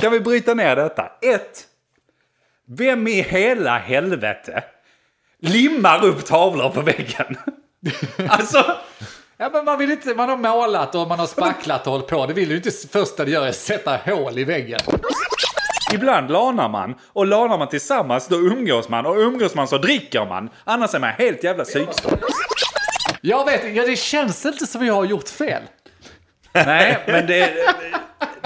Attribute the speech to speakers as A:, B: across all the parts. A: Kan vi bryta ner detta? 1. Vem i hela helvete limmar upp tavlor på väggen? alltså,
B: Ja, men man, vill inte, man har målat och man har spacklat och hållit på. Det vill du inte första du gör är sätta hål i väggen.
A: ibland lanar man och lanar man tillsammans då umgås man och umgås man så dricker man. Annars är man helt jävla psykstörd.
B: Jag vet ja, det känns inte som jag har gjort fel.
A: Nej, men det,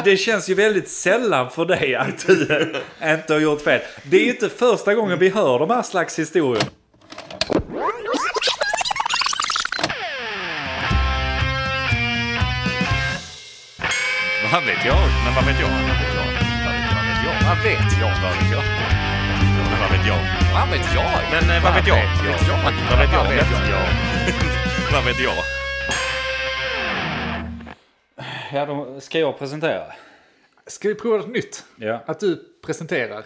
A: det känns ju väldigt sällan för dig att du inte har gjort fel. Det är ju inte första gången vi hör de här slags historier.
C: Vad vet jag? Men vad vet jag? Vad vet jag? Vad vet jag? Vad vet jag?
B: Vad vet jag?
C: Vad vet jag? Men vad vet
B: Vad vet jag?
C: jag? Men eh, vad vet jag?
B: Vad vet jag?
C: Vad vet jag?
B: Vad vet
C: Vad vet jag?
A: Ja, de ska jag presentera?
B: Ska vi prova något nytt?
A: Ja.
B: Att du presenterar.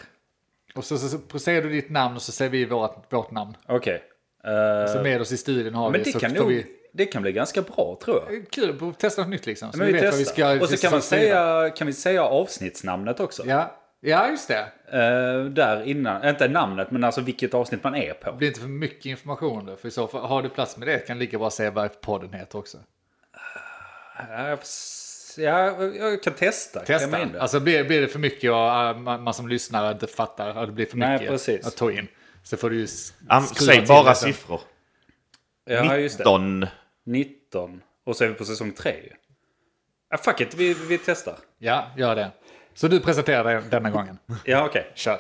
B: Och så, så, så säger du ditt namn och så säger vi vårt, vårt namn.
A: Okej. Eh,
B: Så med oss i studion har
A: men
B: vi.
A: det
B: så
A: kan,
B: får
A: nog,
B: vi...
A: det kan bli ganska bra tror jag.
B: Kul, prov- testa något nytt liksom. Så
A: Men
B: vi,
A: vi
B: vet vad vi ska
A: testar. Och så kan, man
B: säga.
A: säga, kan vi säga avsnittsnamnet också.
B: Ja. ja, just det.
A: Eh, där innan, inte namnet men alltså vilket avsnitt man är på.
B: Det blir inte för mycket information då. För i så fall, har du plats med det kan du lika bra säga vad podden heter också.
A: Ja, jag får s- ja, jag kan testa. Klämma in
B: Testa.
A: det.
B: Alltså blir, blir det för mycket och äh, man, man som lyssnare inte fattar att det blir för
A: Nej,
B: mycket
A: precis.
B: att ta in. Så får du ju s-
C: Am-
B: skruva
C: Säg
B: till
C: bara
B: det sen.
C: siffror.
A: ja, just det.
C: 19.
A: 19. Och så är vi på säsong 3 ju. Ah, fuck it, vi, vi testar.
B: Ja, gör det. Så du presenterar dig denna gången.
A: Ja, okej.
B: Kör.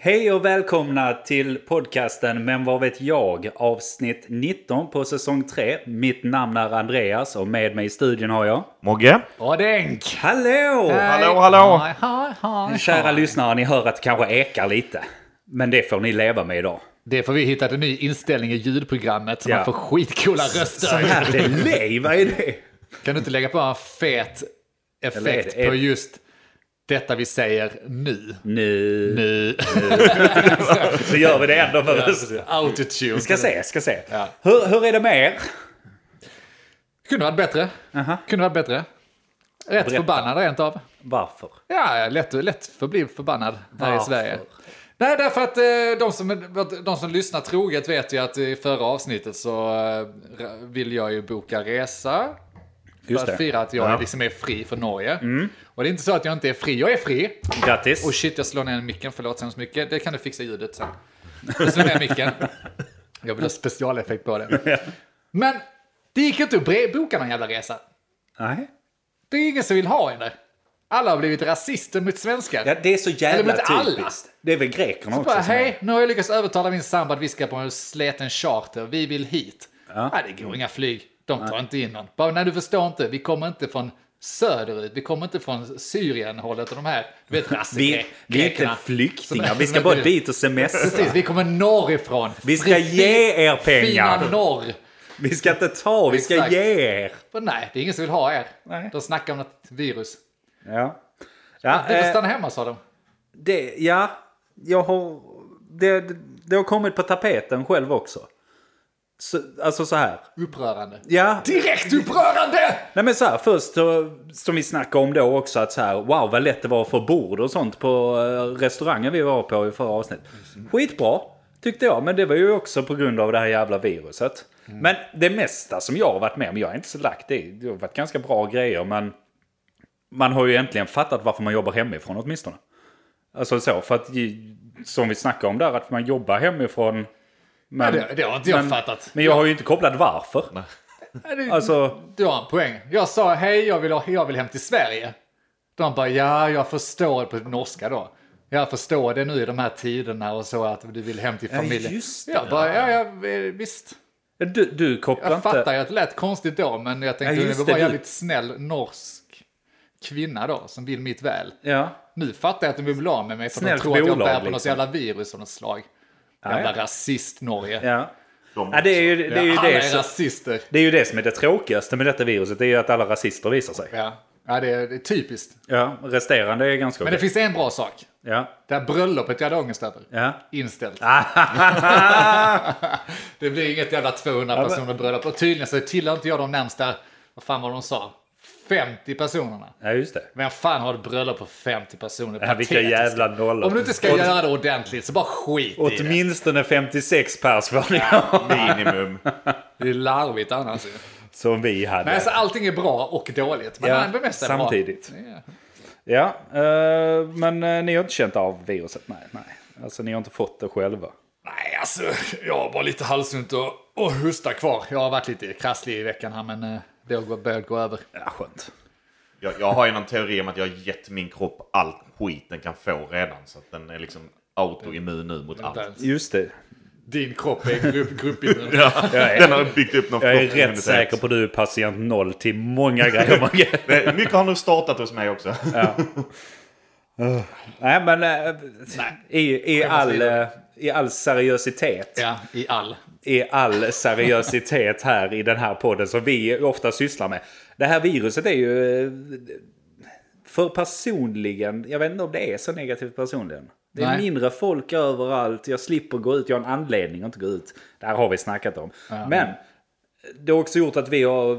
A: Hej och välkomna till podcasten Men vad vet jag? Avsnitt 19 på säsong 3. Mitt namn är Andreas och med mig i studion har jag...
C: Mogge?
B: Och denk!
A: Hallå!
C: Hallå, hallå!
B: Hi, hi, hi, hi.
A: Kära lyssnare, ni hör att det kanske ekar lite. Men det får ni leva med idag.
B: Det får vi hitta en ny inställning i ljudprogrammet så
A: Ja.
B: man får skitcoola röster.
A: Här är lej, vad är det?
B: Kan du inte lägga på en fet
A: Eller är
B: effekt
A: det- är-
B: på just detta vi säger nu?
A: Nu,
B: Nu.
A: så gör vi det ändå för oss.
B: Autotune.
A: Ska se, ska se.
B: Ja.
A: Hur, hur är det med er?
B: Kunde varit bättre. Kunde varit bättre. Rätt förbannad rent av.
A: Varför?
B: Ja, lätt, lätt förbli förbannad här i
A: Varför?
B: Sverige. Nej, därför att eh, de som, de som lyssnar troget vet ju att i förra avsnittet så eh, vill jag ju boka resa.
A: Just
B: för att
A: det. Mm.
B: fira att jag
C: Ja.
B: liksom är fri för Norge. Och det är inte så att jag inte är fri, jag är fri.
A: Grattis.
B: Och shit, jag slår ner micken, förlåt så hemskt mycket. Det kan du fixa ljudet sen. Jag slår ner micken. Jag vill ha specialeffekt på det. Men det gick inte att bre- boka någon jävla resa.
A: Nej.
B: Det är ingen som vill ha henne. Alla har blivit rasister mot svenskar.
A: Ja, det är så
B: Eller
A: jävla
B: men inte alla.
A: typiskt. Det är väl grekerna också.
B: Bara,
A: som är-
B: hej, nu har jag lyckats övertala min sambo att vi ska på en släten charter. Vi vill hit. Ja. Nej, det går inga flyg. De tar inte in någon. Bara, nej, du förstår inte. Vi kommer inte från söderut. Vi kommer inte från Syrien-hållet och de här, du vet,
A: Alltså, Vi,
B: rassegrekerna.
A: vi är inte flyktingar. Vi ska bara dit och
B: Precis,
A: semestra.
B: vi kommer norrifrån.
A: Vi ska ge er pengar.
B: Fina norr.
A: Vi ska inte ta, vi ska
B: Exakt.
A: ge er.
B: Men nej, det är ingen som vill ha er.
A: Nej.
B: De snackar om något virus.
A: Ja. Ja,
B: Du får
A: eh,
B: stanna hemma, sa de.
A: det, ja jag har... Det, det har kommit på tapeten själv också. Så, alltså så här.
B: Upprörande.
A: Ja,
B: Direkt upprörande!
A: Nej men så här, först så, som vi snackade om då också att så här, wow vad lätt det var för bord och sånt på eh, restaurangen vi var på i förra avsnittet. Skitbra, tyckte jag, men det var ju också på grund av det här jävla viruset. Men det mesta som jag har varit med om, jag är inte så lagt i, det har varit ganska bra grejer men man har ju äntligen fattat varför man jobbar hemifrån åtminstone. Alltså så, för att ju- som vi snackade om där, att man jobbar hemifrån. Men,
B: Ja, det- det har inte jag fattat.
A: Men jag har ju inte kopplat varför.
B: Ja, det-
A: Alltså,
B: Du har en poäng. Jag sa hej, jag vill, ha- jag vill hem till Sverige. De bara ja, jag förstår på norska då. Jag förstår det nu i de här tiderna och så att du vill hem till familjen.
A: just det.
B: Jag bara ja, ja eh, visst.
A: du, du kopplar
B: Jag
A: inte...
B: fattar ju att det lät konstigt då, men jag tänkte
A: Ja,
B: att
A: just
B: det var
A: det,
B: en
A: du-
B: jävligt snäll norsk kvinna då som vill mitt väl.
A: Ja.
B: Nu fattar jag att de vill bli av med mig för
A: Snällt
B: de tror att jag
A: bolag,
B: bär på något
A: liksom.
B: jävla virus av något slag. Jävla rasist-Norge.
A: Ja. ja det, är ju, det, är ju
B: Alla
A: det,
B: är
A: som,
B: rasister.
A: det är ju det som är det tråkigaste med detta viruset. Det är ju att alla rasister visar sig.
B: Ja, ja det, är, det är typiskt.
A: Ja, resterande är ganska
B: Men det
A: okej.
B: finns en bra sak.
A: Ja.
B: Det här bröllopet jag hade ångest över.
A: Ja.
B: Inställt. det blir inget jävla 200 personer bröllop. Och tydligen så tillhör inte jag de närmsta, vad fan var de sa? 50 personerna.
A: Ja, just det.
B: Vem fan har ett bröllop på 50 personer?
A: Ja, vilka
B: Patetiskt.
A: jävla nollor.
B: Om du inte ska
A: Åt-
B: göra det ordentligt så bara skit i det.
A: Åtminstone 56 pers var det
C: Minimum.
B: Det är larvigt annars ju.
A: som vi hade.
B: Nej, alltså allting är bra och dåligt. Men
A: Ja,
B: han bemästrar bra.
A: samtidigt.
B: Ja.
A: Ja, eh, men eh, ni har inte känt av viruset? Nej, nej. Alltså ni har inte fått det själva?
B: Nej, alltså jag har bara lite halsont och, och hosta kvar. Jag har varit lite krasslig i veckan här, men eh, det har gått- börjat gå över.
A: Ja, skönt.
C: Jag, jag har ju någon teori om att jag har gett min kropp all skit den kan få redan. Så att den är liksom autoimmun nu mot allt.
A: Just det.
B: Din kropp är grupp, gruppimmun.
A: Jag är,
C: Den har byggt upp någon
A: jag är
C: flock immunitet.
A: rätt säker på att du är patient noll till många grejer. Mange.
C: Det- Mycket har nog startat hos mig också.
A: nej, men eh, i, i, all, eh, i all seriositet.
B: Ja, i all.
A: i all seriositet här i den här podden som vi ofta sysslar med. Det här viruset är ju eh, för personligen, jag vet inte om det är så negativt personligen. Det är
B: Nej.
A: mindre folk överallt, jag slipper gå ut, jag har en anledning att inte gå ut. Det här har vi snackat om. Men det har också gjort att vi, har,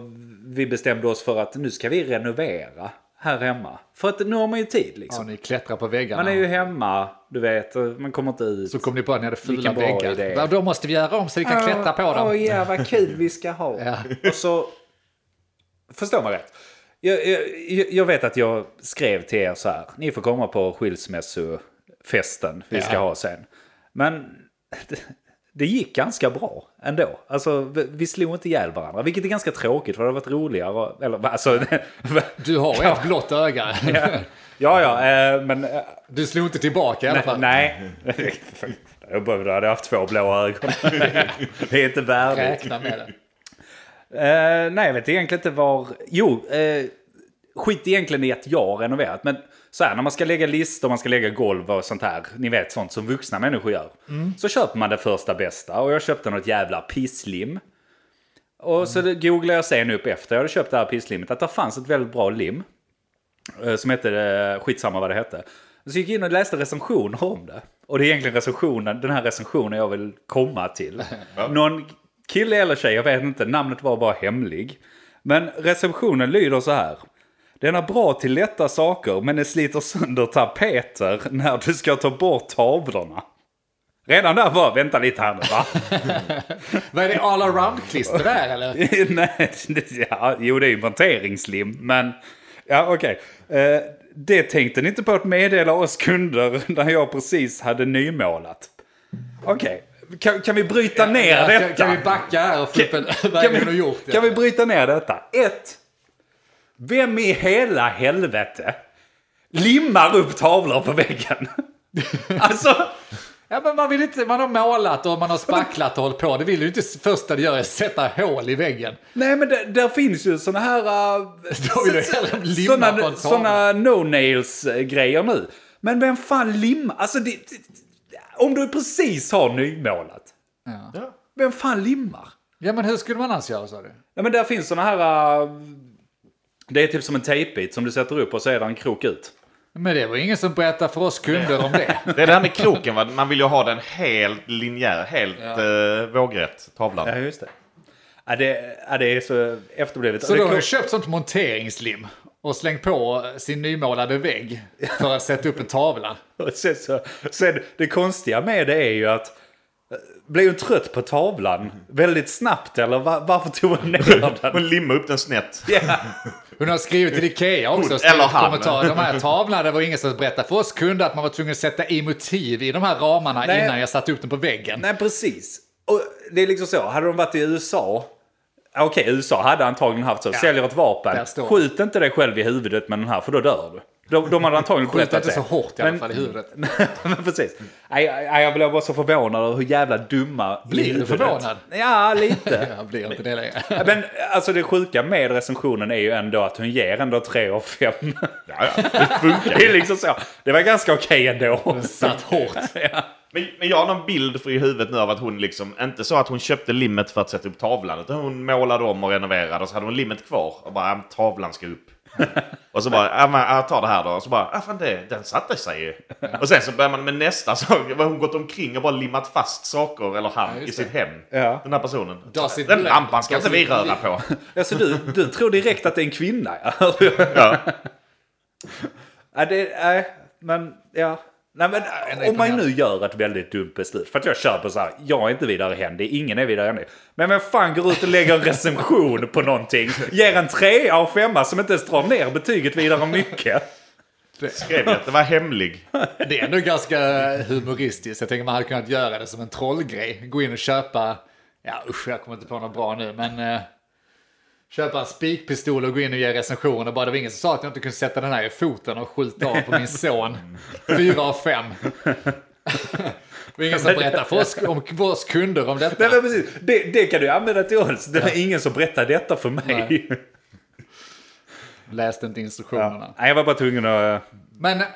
A: vi bestämde oss för att nu ska vi renovera här hemma. För att nu har man ju tid
B: Så
A: liksom.
B: ni klättrar på väggarna.
A: Man är ju hemma, du vet, man kommer inte ut.
B: Så kom ni på att ni hade fula
A: Vilken bra idé.
B: väggar. Ja, Då måste vi göra om så vi kan klättra på
A: Åh
B: dem.
A: ja, vad kul vi ska ha. Och så... Förstår man rätt? Jag, jag, jag- jag vet att jag skrev till er så här. Ni får komma på skilsmässofesten vi ska
B: Ja.
A: ha sen. Men det, det gick ganska bra ändå. Alltså, vi, vi slog inte ihjäl varandra. Vilket är ganska tråkigt för det hade varit roligare. Eller alltså...
B: Du har ett blått öga.
A: ja, ja, eh, men... eh,
B: Du slog inte tillbaka i alla fall.
A: Nej. Jag behövde, hade haft två blå ögon. Det är inte värdigt.
B: Räkna med det.
A: Eh, nej, jag vet egentligen inte var... Jo, eh, skit egentligen i att jag har renoverat. Men så här, när man ska lägga listor, man ska lägga golv och sånt här. Ni vet sånt som vuxna människor gör.
B: Mm.
A: Så köper man det första bästa. Och jag köpte något jävla pisslim. Och så
B: Mm.
A: det- googlade jag sen upp efter jag hade köpt det här pisslimmet att det fanns ett väldigt bra lim. eh, Som hette, eh, skitsamma vad det hette. Så gick jag in och läste recensioner om det. Och det är egentligen recensionen, den här recensionen jag vill komma till. Någon kille eller tjej, jag vet inte, namnet var bara hemlig. Men recensionen lyder så här. Den är bra till lätta saker men den sliter sönder tapeter när du ska ta bort tavlorna. Redan där var, vänta lite här nu va?
B: Vad är det all around-klister där eller?
A: Nej, det- ja, jo det är ju monteringslim, men... Ja, okej. Eh, det tänkte ni inte på att meddela oss kunder när jag precis hade nymålat. Okej, kan, kan vi bryta ner
B: Ja,
A: detta?
B: kan, kan vi backa här och få upp en väg hon har gjort det?
A: kan vi bryta ner detta? Ett. Vem i hela helvete limmar upp tavlor på väggen? alltså,
B: Ja, men man, vill inte, man har målat och man har spacklat och hållit på. Det vill du inte första du gör är sätta hål i väggen.
A: nej men det, där finns ju såna här... äh,
B: Då vill du hellre limma på en
A: såna, såna
B: tavla.
A: no-nails-grejer nu. Men vem fan limmar? Alltså, det, det, om du precis har nymålat,
C: Ja.
A: vem fan limmar?
B: Ja, men hur skulle man annars göra sa du?
A: Ja, men där finns såna här... äh, det är typ som en tejpbit som du sätter upp och så är det en krok ut.
B: Men det var ingen som berättade för oss kunder om det.
C: Det är det här med kroken. Va? Man vill ju ha den helt linjär, helt eh, vågrätt, tavlan.
A: Ja, just det. Ja, det, ja, det är så efterblivet.
B: Så
A: Och det
B: då har
A: kom-
B: du köpt sånt monteringslim och slängt på sin nymålade vägg för att sätta upp en tavla.
A: Och sen, så, sen det konstiga med det är ju att eh, blev hon trött på tavlan väldigt snabbt eller va- varför tog hon ner den?
C: Och limma upp den snett.
A: Ja.
B: Hon har skrivit till Ikea också.
C: Hon
B: skrivit
C: eller han.
B: kommentarer. De här tavlorna, det var ingen som berättade för oss kunder att man var tvungen att sätta i motiv i de här ramarna
A: Nej.
B: innan jag satte upp dem på väggen.
A: Nej, precis. Och det är liksom så, hade de varit i USA, Ja, okej USA hade antagligen haft så, säljer ett
B: där
A: vapen,
B: står det.
A: skjut inte dig själv i huvudet med den här för då dör du. De, de hade antagligen
B: Skjut
A: berättat
B: inte så
A: det.
B: hårt i alla
A: Men-
B: fall i huvudet.
A: Men precis. Nej, jag, jag blev bara så förvånad över hur jävla dumma... i
B: Blir du
A: huvudet.
B: förvånad?
A: Ja, lite.
B: Jag blir inte det längre.
A: Men alltså det sjuka med recensionen är ju ändå att hon ger ändå 3 av 5.
C: Ja, ja, det funkar.
A: Det är liksom så. Det var ganska okej ändå.
B: Satt hårt.
C: Men, men jag har någon bild för i huvudet nu av att hon liksom, inte så att hon köpte limmet för att sätta upp tavlan, utan hon målade om och renoverade och så hade hon limmet kvar och bara, "Ja, men tavlan ska upp. Och så bara, ja men jag tar det här då. Och så bara, ja fan det, den satte sig ju. Och sen så börjar man med nästa sak. Vad Hon gått omkring och bara limmat fast saker, eller han,
B: Ja,
C: i
B: just
C: sitt hem.
A: Ja.
C: Den här personen.
B: Does it
C: Den
B: blend?
C: lampan ska
B: Does
C: inte vi
B: it
C: röra
B: blend?
C: på.
A: Alltså du, du tror direkt att det är en kvinna. ja.
C: Ja.
A: Ja, det, nej, men ja. Nej, men,
B: nej,
A: om man
B: nej.
A: nu gör ett väldigt dumt beslut, för att jag kör på så här, jag är inte vidare hän, det är ingen är vidare än det. Men vem fan går ut och lägger en recension på någonting, ger en trea och femma alltså, som inte ens drar ner betyget vidare mycket.
C: Skrev jag att det var hemlig.
B: Det är ändå ganska humoristiskt. Jag tänker man hade kunnat göra det som en trollgrej. Gå in och köpa, ja usch jag kommer inte på något bra nu, men eh, köpa en spikpistol och gå in och ge recensioner. Bara det var ingen som sa att jag inte kunde sätta den här i foten och skjuta av på min son. Fyra av fem. Det var ingen som berättade för oss, om för oss kunder om detta.
A: Nej, men precis, det, det kan du använda till oss, det var ingen som berättade detta för mig. Nej.
B: Läste inte instruktionerna.
A: jag var bara tvungen att...
B: Men eh,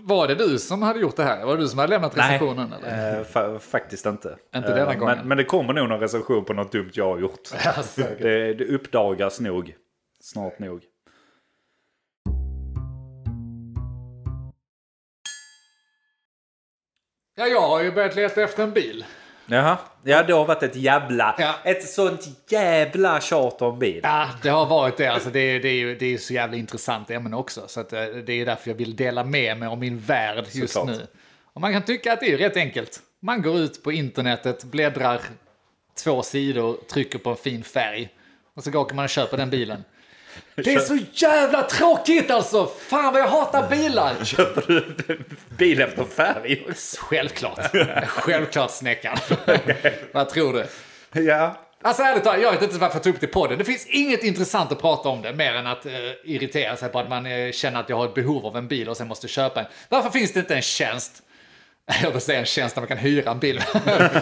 B: var det du som hade gjort det här? Var det du som hade lämnat recensionen? Eller?
A: eh, fa- faktiskt inte.
B: Inte denna
A: Eh,
B: gången.
A: Men, men det kommer nog någon recension på något dumt jag har gjort.
B: Ja, säkert.
A: Det, det uppdagas nog. Snart nog.
B: Ja, jag har ju börjat leta efter en bil.
A: Jaha. Ja, det har varit ett jävla...
B: Ja.
A: Ett sånt jävla tjat om bil.
B: Ja, det har varit det. Alltså, det, är- det, är ju, det är ju så jävla intressant ämne också. Så att, eh, det är därför jag vill dela med mig om min värld just
A: Såklart.
B: nu. Och man kan tycka att det är rätt enkelt. Man går ut på internetet, bläddrar två sidor, trycker på en fin färg. Och så går- åker man och köper den bilen. Det är så jävla tråkigt alltså! Fan vad jag hatar bilar!
A: Köper du bil efter färg?
B: Självklart. Självklart snäckan. Vad tror du?
A: Ja.
B: Alltså ärligt talat, jag vet inte varför jag tog upp det i podden. Det finns inget intressant att prata om det, mer än att eh, irritera sig på att man eh, känner att jag har ett behov av en bil och sen måste köpa en. Varför finns det inte en tjänst? Jag vill säga en tjänst där man kan hyra en bil.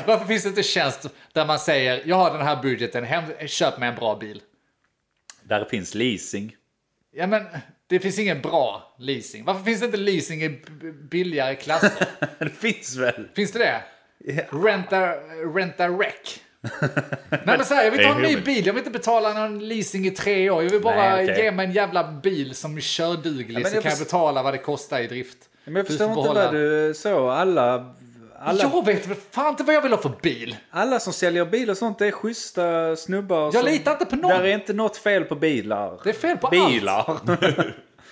B: varför finns det inte en tjänst där man säger jag har den här budgeten, hem, köp mig en bra bil.
A: Där finns leasing.
B: Ja men det finns ingen bra leasing. Varför finns det inte leasing i b- b- billigare klasser?
A: Det finns väl?
B: Finns det det?
A: Ja.
B: Renta, renta wreck. Nej men så här, jag vill
C: Det
B: inte
C: är
B: ha en ny
C: humor.
B: bil, jag vill inte betala någon leasing i tre år. Jag vill bara
A: Nej, okej.
B: ge mig en jävla bil som är körduglig
A: men
B: så
A: jag
B: kan jag
A: först-
B: betala vad det kostar i drift.
A: Men jag
B: Du
A: förstår
B: får
A: inte
B: behålla-
A: vad du... Så, alla... Alla,
B: Jag vet väl fan inte vad jag vill ha för bil.
A: alla som säljer bil och sånt är schyssta snubbar. Jag som,
B: litar inte på någon.
A: Där är inte något fel på bilar.
B: Det är fel på allt.
A: bilar.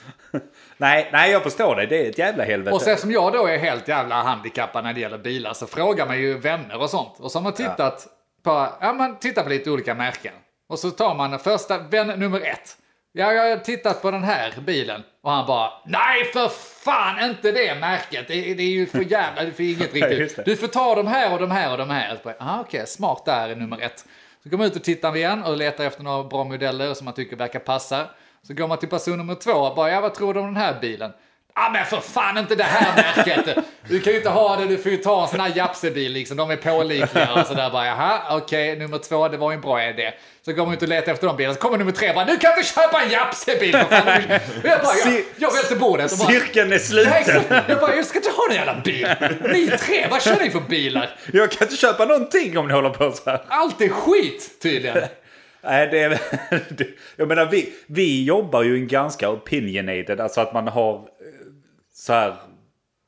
A: nej, nej, jag förstår dig. Det är ett jävla helvete.
B: Och så som jag då är helt jävla handikappad när det gäller bilar så frågar man ju vänner och sånt. Och så har man tittat på, ja man tittar på lite olika märken. Och så tar man den första, vän nummer ett. Ja, jag har tittat på den här bilen. Och han bara, nej för fan inte det märket. Det, det är ju för jävla, du får inget
A: just det.
B: riktigt. Du får ta de här och de här och de här. Så bara, Ah, Okej, smart där är nummer ett. Så går man ut och tittar igen och letar efter några bra modeller som man tycker verkar passa. Så går man till person nummer två och bara, ja vad tror du om den här bilen? Ja ah, men för fan inte det här märket! Du kan ju inte ha det, du får ju ta en sån här japsebil liksom, de är pålitliga och sådär bara, jaha okej, nummer två, det var ju en bra idé. Så går man ut och letar efter de bilarna, så kommer nummer tre och bara, du kan inte köpa en japsebil! för fan." Och Jag, bara, jag, jag välter bordet och bara,
A: Cirkeln är
B: "Nej,
A: sluten.
B: exakt." jag bara, jag ska inte ha någon jävla bil! Ni tre, vad kör ni för bilar?
A: Jag kan inte köpa någonting om ni håller på så här.
B: Allt är skit tydligen.
A: Nej, det är, det- jag menar, vi, vi jobbar ju en ganska opinionated, alltså att man har eh, så här,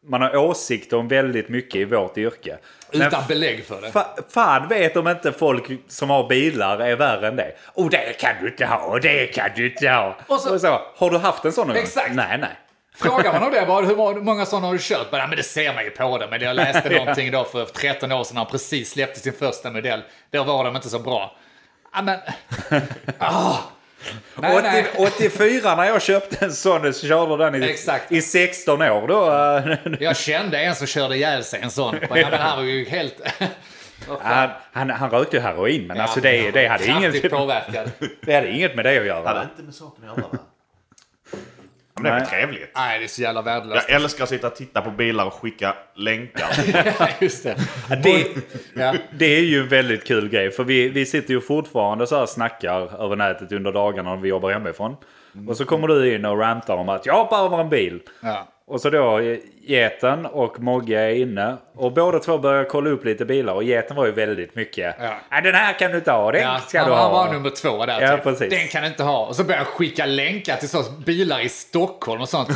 A: man har åsikter om väldigt mycket i vårt yrke. Men
B: Utan belägg för det.
A: fa, fan vet om inte folk som har bilar är värre än det. Och det kan du inte ha, och det kan du inte ha.
B: Och så-
A: har du haft en sån någon gång?
B: Exakt.
A: Nej, nej.
B: Frågar man om det, bara, hur må- många sådana har du köpt? Bara, "Ja, men det ser man ju på det. Men jag läste någonting då för 13 år sedan när han precis släppte sin första modell. Då var de inte så bra. Ja, men... Ah. Nej,
A: 80,
B: nej.
A: 84 när jag köpte en sån så körde den i,
B: Exakt. Mm.
A: i 16 år då. eh,
B: Jag kände en som körde ihjäl sig en sån. Bara, Ja, men han var ju helt...
A: Han, han, han rökte ju heroin, men alltså det, det, hade
B: Kraftigt
A: inget,
B: påverkad.
A: det hade inget med det att göra.
C: Det hade inte med saken att göra va? Ja, Men det är väl
A: Nej.
C: trevligt?
B: Nej, det är så jävla värdelöst.
C: Jag älskar att sitta och titta på bilar och skicka länkar.
B: Ja, just det.
A: det,
B: Ja.
A: det är ju en väldigt kul grej, för vi, vi sitter ju fortfarande så här och snackar över nätet under dagarna när vi jobbar hemifrån. Och så kommer du in och rantar om att jag hoppar över en bil.
B: Mm. Ja.
A: Och Och så då geten och Mogge är inne. Och båda två börjar kolla upp lite bilar. Och geten var ju väldigt mycket.
B: Ja.
A: "Nej, den här kan du inte ha, den
B: Ja,
A: ska
B: han,
A: du
B: han
A: ha.
B: var nummer två där.
A: Ja,
B: typ.
A: precis.
B: Den kan du inte ha. Och så började han skicka länkar till sådana bilar i Stockholm och sånt.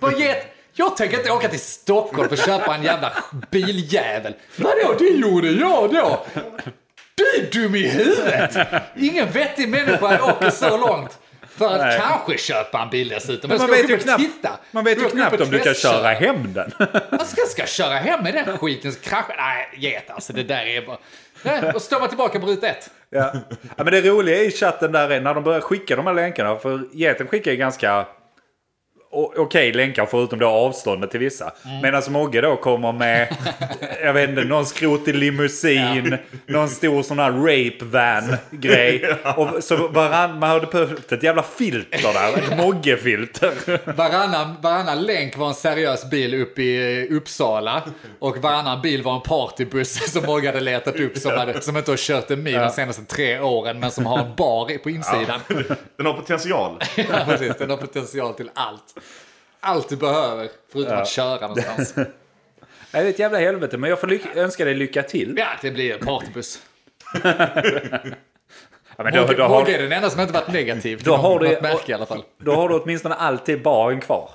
B: Vad get? Jag tänker inte åka till Stockholm för att köpa en jävla biljävel. Vadå, det gjorde jag då? Du är dum i huvudet! Ingen vettig människa åker så långt för att
A: Nej.
B: kanske köpa en bil dessutom. Jag
A: Man
B: ska
A: vet,
B: åka
A: ju
B: upp och
A: knappt,
B: titta.
A: man vet ju
B: Jag ska åka upp
A: knappt
B: och
A: om du kan
B: testköra.
A: köra hem den.
B: Man ska, ska köra hem med den skiten så kraschar... Nej, get alltså. Det där är bara... Nej, och står man tillbaka på ruta ett.
A: Ja. ja, men det roliga i chatten där är när de börjar skicka de här länkarna. För geten skickar ju ganska o- okej länkar förutom då avståndet till vissa. Medan Mogge då kommer med, jag vet inte, någon skrotig limousin, någon stor sån här rape van grej. Och så varann, man hade behövt ett jävla filter där, ett Mogge-filter.
B: Varannan, varannan länk var en seriös bil uppe i eh, Uppsala och varannan bil var en partybuss som många hade letat upp som, hade, som inte har kört en mil de senaste tre åren men som har en bar på insidan.
C: Den har potential.
B: Ja, precis. Den har potential till allt. Allt du behöver förutom att köra någonstans.
A: Det är ett jävla helvete, men jag får lyck- önska dig lycka till.
B: Ja, det blir en partybuss.
A: Ja, men då,
B: Mogge
A: då,
B: Mogge är
A: har,
B: den enda som inte varit negativ till
A: Då har
B: någon-
A: du-
B: något märke i alla fall.
A: då har du åtminstone alltid baren kvar.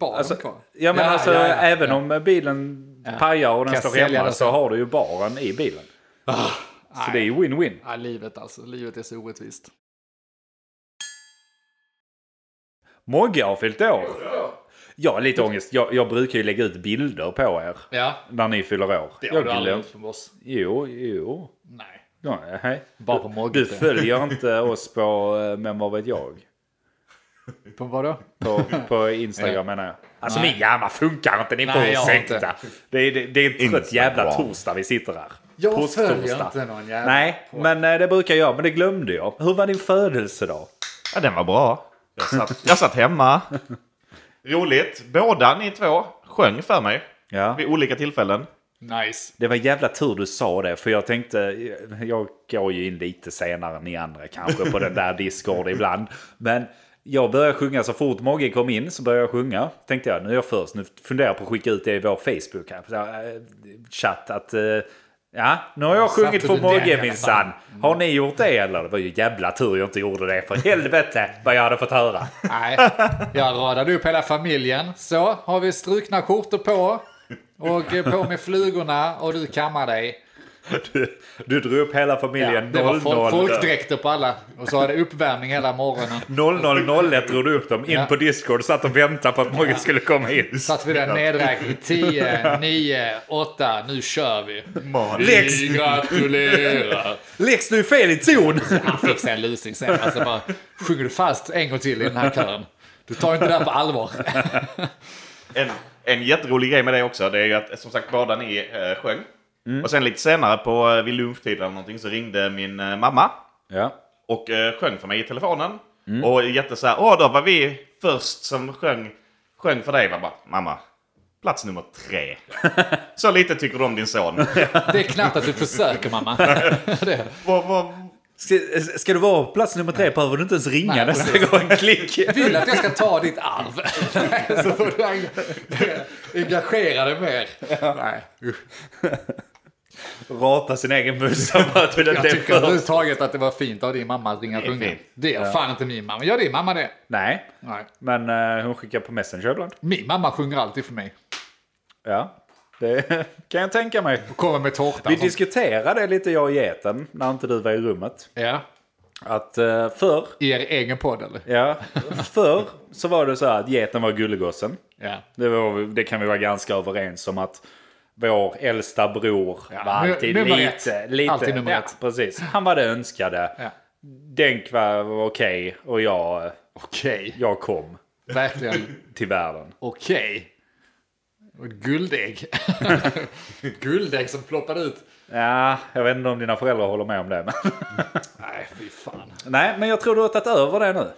B: Baren
A: Alltså,
B: kvar.
A: ja, men alltså,
B: ja, ja.
A: även om bilen pajar och den
B: Kan
A: står
B: sälja
A: hemma
B: den
A: så
B: sen. Ah,
A: har du ju baren i bilen. så det är ju win-win.
B: Ja, livet alltså. Livet är så orättvist.
A: Mogge har fyllt år. Jag har lite ångest. Jag, jag brukar ju lägga ut bilder på er
B: Ja,
A: när ni fyller år.
B: det har
A: jag
B: du aldrig
A: glöm-
B: gjort för oss.
A: Jo, jo.
B: Nej.
A: Ja, hej.
B: Bara på Mogge.
A: Du följer inte oss på, eh, men vad vet jag?
B: På vad då?
A: På, på Instagram menar jag. Alltså
B: Nej.
A: min hjärna funkar inte, ni får
B: Nej, jag har
A: ursäkta. Det är, det, det är en trött
C: Instagram.
A: jävla torsdag vi sitter här.
B: Jag
A: Posttorsdag.
B: följer inte någon jävla
A: Nej, men eh, det brukar jag. Men det glömde jag. Hur var din födelsedag?
C: Ja, den var bra. Jag satt, jag satt hemma. Roligt. Båda ni två sjöng för mig
A: Ja.
C: vid olika tillfällen.
B: Nice.
A: Det var jävla tur du sa det, för jag tänkte... eh, Jag går ju in lite senare än ni andra kanske på den där Discord ibland. Men jag började sjunga så fort Mogge kom in så började jag sjunga. Tänkte jag, nu är jag först. Nu funderar jag på att skicka ut det i vår Facebook här, så, eh, chatt. Att, eh, ja, nu har jag
B: Satte
A: sjungit för
B: du den i
A: Mogge
B: alla
A: minsann. Har ni gjort det eller? Det var ju jävla tur jag inte gjorde det, för helvete vad jag hade fått höra.
B: Nej, jag radade upp hela familjen. Så, har vi strukna skjortor på och eh, på med flugorna och du kammar dig.
A: Du, du drog upp hela
B: Ja,
A: familjen
B: det var
A: 00.
B: folk, folkdräkter på alla och så hade uppvärmning hela morgonen.
A: 0001 drog du upp dem in
B: Ja.
A: på Discord satt och väntade på att Mogge skulle komma in.
B: Satt vi där nedräkning 10, 9, 8, nu kör vi.
C: Man.
A: Lex,
B: Vi gratulerar.
A: Lex du är fel i ton!
B: Han fick sig en lusing sen. Alltså bara, sjunger du fast en gång till i den här kören? Du tar inte det här på allvar.
C: En, en jätterolig grej med det också, det är ju att som sagt båda ni eh, sjöng. Och sen lite senare på, eh, vid lunchtid eller någonting så ringde min eh, mamma
A: Ja.
C: och eh, sjöng för mig i telefonen. Och jätte så här, åh då var vi först som sjöng, sjöng för dig. Jag bara, mamma, plats nummer tre. så lite tycker du om din son.
B: Det är knappt att du försöker mamma. Det.
C: vad, vad,
A: Ska, ska du vara på plats nummer tre behöver du inte ens ringa
B: Nej,
A: nästa gång. Klick!
B: vill att jag ska ta ditt arv. så får du eng- engagera dig mer. Nej.
A: Rata sin egen buss. Jag bara tog den
B: Jag
A: där
B: tycker
A: först.
B: överhuvudtaget att det var fint av din mamma att ringa och
C: Det är
B: sjunga.
C: fint.
B: Det gör fan inte min mamma. Gör din mamma det?
A: Nej,
B: Nej.
A: men eh, hon skickar på Messenger ibland.
B: Min mamma sjunger alltid för mig.
A: Ja, det kan jag tänka mig.
B: Och kommer med tårta.
A: Vi
B: och sånt.
A: diskuterade det lite jag och geten när inte du var i rummet.
B: ja.
A: Att uh, förr,
B: I er egen podd eller?
A: ja, förr så var det så här att geten var gullegossen.
B: Ja.
A: Det, var, det kan vi vara ganska överens om att vår äldsta bror
B: Ja,
A: var alltid
B: nummer
A: lite,
B: ett.
A: lite...
B: Alltid nummer
A: ja,
B: ett.
A: Precis. Han var det önskade.
B: ja.
A: Denk var okej och jag,
B: Okej.
A: jag kom
B: Verkligen
A: till världen.
B: okej. Och ett guldägg. Ett guldägg som ploppade ut.
A: Ja, jag vet inte om dina föräldrar håller med om det. Men
B: Nej, fy fan.
A: Nej, men jag tror du har tagit över det nu.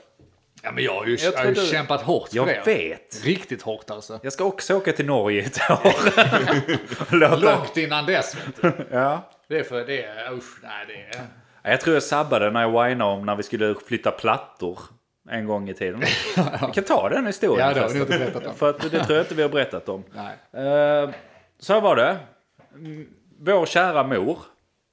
B: Ja, men jag har ju, jag
A: Jag
B: har ju
A: trodde-
B: kämpat hårt för
A: Jag
B: det.
A: vet.
B: Riktigt hårt alltså.
A: Jag ska också åka till Norge i ett år. Låta...
B: Långt innan dess. Vet du.
A: Ja.
B: Det är för det är, usch, nej det är...
A: Jag tror jag sabbade när jag whinade om när vi skulle flytta plattor. en gång i tiden. Vi kan ta den historien
B: Ja, det har vi nog inte
A: förresten.
B: berättat om.
A: För att det tror jag inte vi har berättat om.
B: Nej.
A: Eh, så här var det. Mm, Vår kära mor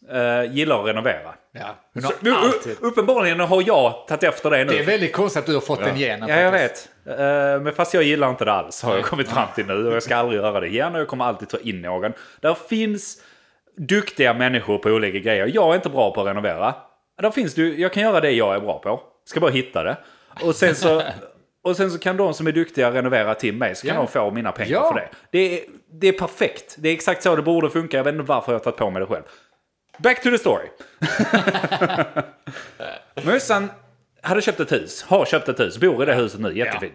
A: eh, gillar att renovera.
B: Ja. Hon
A: Så,
B: har
A: u- u-
B: alltid...
A: uppenbarligen har jag tagit efter det nu.
B: Det är väldigt konstigt att du har fått den genen.
A: Ja, jag
B: faktiskt.
A: vet. Eh, Men fast jag gillar inte det alls har jag kommit fram till nu. Och jag ska aldrig göra det igen och jag kommer alltid ta in någon. Där finns duktiga människor på olika grejer. Jag är inte bra på att renovera. Där finns du, jag kan göra det jag är bra på. Ska bara hitta det. Och sen så, och sen så kan de som är duktiga renovera till mig. Så kan
B: Ja.
A: de få mina pengar
B: Ja.
A: för det. Det är, det är perfekt. Det är exakt så det borde funka. Jag vet inte varför jag har tagit på mig det själv. Back to the story. Mössan hade köpt ett hus, har köpt ett hus, bor i det huset nu, jättefint.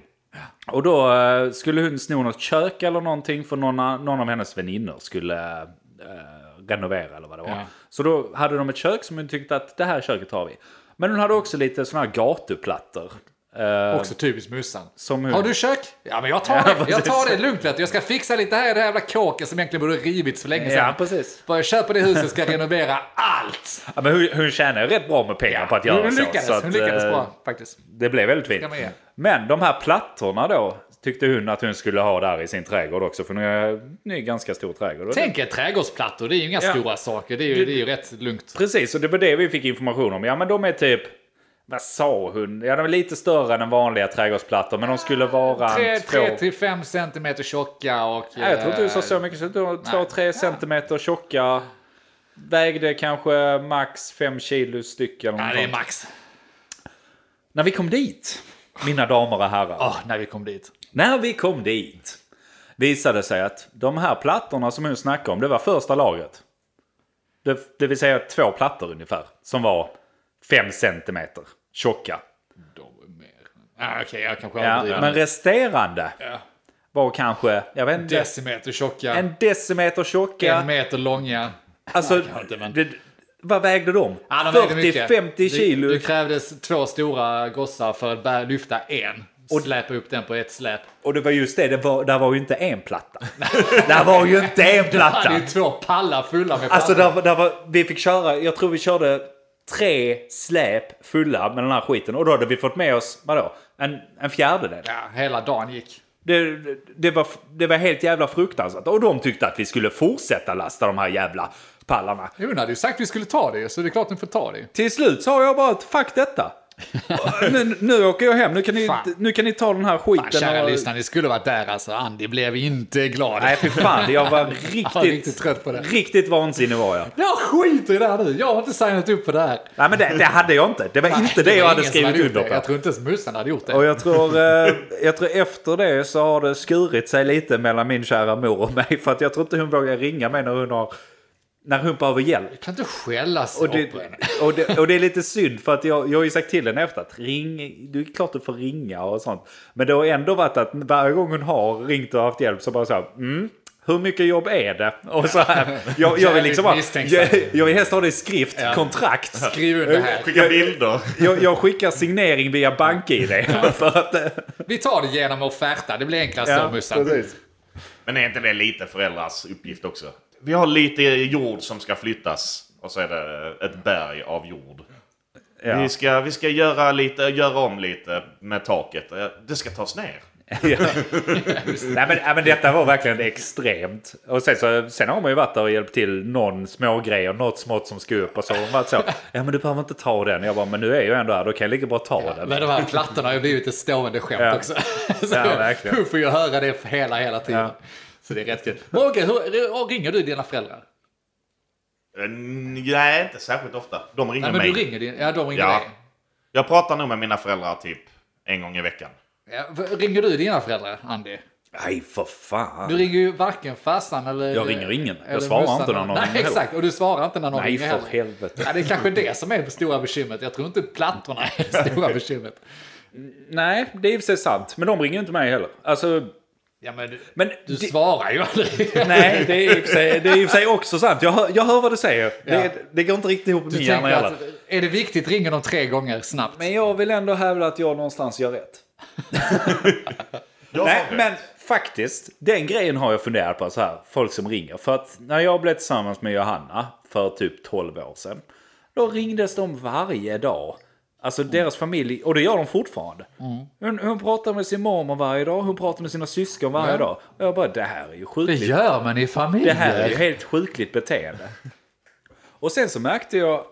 A: Och då eh, skulle hon sno något kök eller någonting för någon, a- någon av hennes väninnor skulle eh, renovera eller vad det var.
B: Ja.
A: Så då hade de ett kök som hon tyckte att det här köket har vi. Men hon hade också lite sådana här gatuplattor. Eh,
B: Också typiskt mussan.
A: Som hur?
B: har du kök? Ja, men jag tar det. Jag tar det lugnt. lätt. Jag ska fixa lite här i det här jävla kåket som egentligen borde ha rivits för länge sedan.
A: ja, precis.
B: Bara jag köper det huset ska jag renovera allt.
A: Ja, men hon, hon tjänade rätt bra med pengar på att göra
B: hon
A: så.
B: lyckades,
A: så att,
B: hon lyckades
A: eh,
B: bra faktiskt.
A: Det blev väldigt fint.
B: Ska man ge.
A: Men de här plattorna då tyckte hon att hon skulle ha där i sin trädgård också. För nu är det en ganska stor trädgård.
B: Tänk er trädgårdsplattor, det är ju inga
A: Ja.
B: stora saker. Det är ju, det är ju rätt lugnt.
A: Precis, och det var det vi fick information om. Ja, men de är typ... Vad sa hon? Ja, de är lite större än vanliga trädgårdsplattor, men de skulle
B: Ah,
A: vara... en två-
B: 3-5 centimeter tjocka och... eh,
A: Nej, jag tror inte du sa så mycket. Så de var två, tre centimeter tjocka. Vägde kanske max fem kilo styck eller
B: Nej,
A: något
B: det är
A: sånt.
B: max.
A: När vi kom dit, mina damer och herrar.
B: Åh, när vi kom dit.
A: När vi kom dit visade det sig att de här plattorna som hon snackade om, det var första lagret. Det, det vill säga två plattor ungefär, som var fem centimeter tjocka.
B: De är mer... Ah, Okej, jag kanske
A: Ja,
B: överdriver.
A: men resterande var kanske, jag vet inte,
B: Decimeter tjocka, en,
A: en decimeter tjocka.
B: meter långa.
A: alltså,
B: kan inte, men-
A: det, vad vägde de?
B: Ah, de vägde mycket.
A: 40-50 kilo.
B: Det, det krävdes två stora gossar för att bära, lyfta en. Och släpa upp den på ett släp.
A: Och det var just det, det var, där var ju inte en platta. där var ju inte en
B: Det
A: platta.
B: är ju två pallar fulla med
A: Alltså
B: pallar.
A: där, var- där var, vi fick köra, jag tror vi körde tre släp fulla med den här skiten. Och då hade vi fått med oss, vadå, en, en fjärdedel.
B: Ja, hela dagen gick.
A: Det, det- det, var, det var helt jävla fruktansvärt. Och de tyckte att vi skulle fortsätta lasta de här jävla pallarna.
B: Jo, hon hade ju sagt att vi skulle ta det, så det är klart att ni får ta det.
A: Till slut sa jag bara att fuck detta. nu, nu åker jag hem, nu kan ni,
B: Fan.
A: nu kan ni ta den här skiten.
B: Fan, kära
A: och-
B: lyssnare, ni skulle varit där alltså. Andy blev inte glad.
A: Nej fy fan, jag var
B: Han var riktigt
A: riktigt,
B: trött på det.
A: riktigt vansinnig var jag.
B: Jag skiter i det här nu. Jag har inte signat upp för det här.
A: Nej men det, det hade jag inte. Det var inte det,
B: var
A: jag hade
B: ingen som
A: skrivit
B: gjort
A: under
B: det.
A: på.
B: Jag tror inte ens Mussan hade gjort det.
A: Och jag tror, eh, jag tror efter det så har det skurit sig lite mellan min kära mor och mig. För att jag tror inte hon vågar ringa mig när hon, har, när hon behöver hjälp.
B: Jag kan inte skälla så
A: Och det,
B: på henne.
A: och, det, och det är lite synd för att jag, jag har ju sagt till henne efter att ring, det är klart du får ringa och sånt. Men det har ändå varit att varje gång hon har ringt och haft hjälp så bara så här, mm, hur mycket jobb är det? Och så här, jag, jag vill liksom bara,
B: Misstänksam.
A: jag, jag vill helst ha det i skrift, kontrakt.
B: Skriv under här.
C: Skicka bilder.
A: Jag, jag skickar signering via bank-id för att... eh,
B: Vi tar det genom offerta. Det blir enklast så, Mussan.
A: precis.
C: Men är inte det lite föräldrars uppgift också? Vi har lite jord som ska flyttas. Och så är det ett berg av jord.
A: Ja.
C: Vi ska, vi ska göra, lite, göra om lite med taket. Eh, Det ska tas ner.
A: nej, men, nej men detta var verkligen extremt. Och sen, så, sen har man ju varit där och hjälpt till någon smågrej och något smått som ska upp. Och så har man varit så. Ja men du behöver inte ta den. Jag bara men nu är jag ändå här. Då kan jag lika bra ta den.
B: Men de här plattorna har ju blivit ett stående skämt
A: Ja.
B: också. Så
A: Ja, verkligen.
B: Hon får ju höra det hela, hela tiden.
A: Ja.
B: Så det är rätt kul. Morgan, hur, hur ringer du dina föräldrar?
C: Eh, Nej, inte särskilt ofta. De ringer
B: Nej, men
C: mig.
B: du ringer din, ja, de ringer
C: Ja.
B: dig.
C: Jag pratar nog med mina föräldrar typ en gång i veckan.
B: Ja, v- ringer du dina föräldrar, Andy?
A: Nej för fan.
B: Du ringer ju varken farsan eller...
A: Jag ringer ingen. Jag
B: eller
A: svarar
B: morsan.
A: inte när någon
B: Nej,
A: ringer.
B: exakt. Och du svarar inte när någon
A: Nej
B: ringer
A: för
B: heller.
A: helvete.
B: Ja, det är kanske det som är det stora bekymret. Jag tror inte plattorna är det stora bekymret.
A: Nej det är i och för sig sant. Men de ringer inte mig heller. Alltså.
B: Ja, men du,
A: Men
B: du
A: det-
B: svarar ju aldrig.
A: Nej, det är, i och för sig, det är i och för sig också sant. Jag hör, jag hör vad du säger.
B: Ja.
A: Det, det går inte riktigt ihop med
B: Du
A: min
B: tänker
A: hjärna heller.
B: att är det viktigt ringer de tre gånger snabbt.
A: Men jag vill ändå hävda att jag någonstans gör rätt.
C: Jag
A: Nej,
C: har det.
A: men faktiskt. Den grejen har jag funderat på så här. Folk som ringer. För att när jag blev tillsammans med Johanna för typ 12 år sedan. Då ringdes de varje dag Alltså deras familj, och det gör de fortfarande.
B: Mm.
A: Hon, hon pratar med sin mormor varje dag, hon pratar med sina syskon varje
B: Ja.
A: dag. Och jag bara, det här är ju
B: Det
A: sjukligt.
B: gör man i
A: Det
B: familjer.
A: här är ju helt sjukligt beteende. Och sen så märkte jag,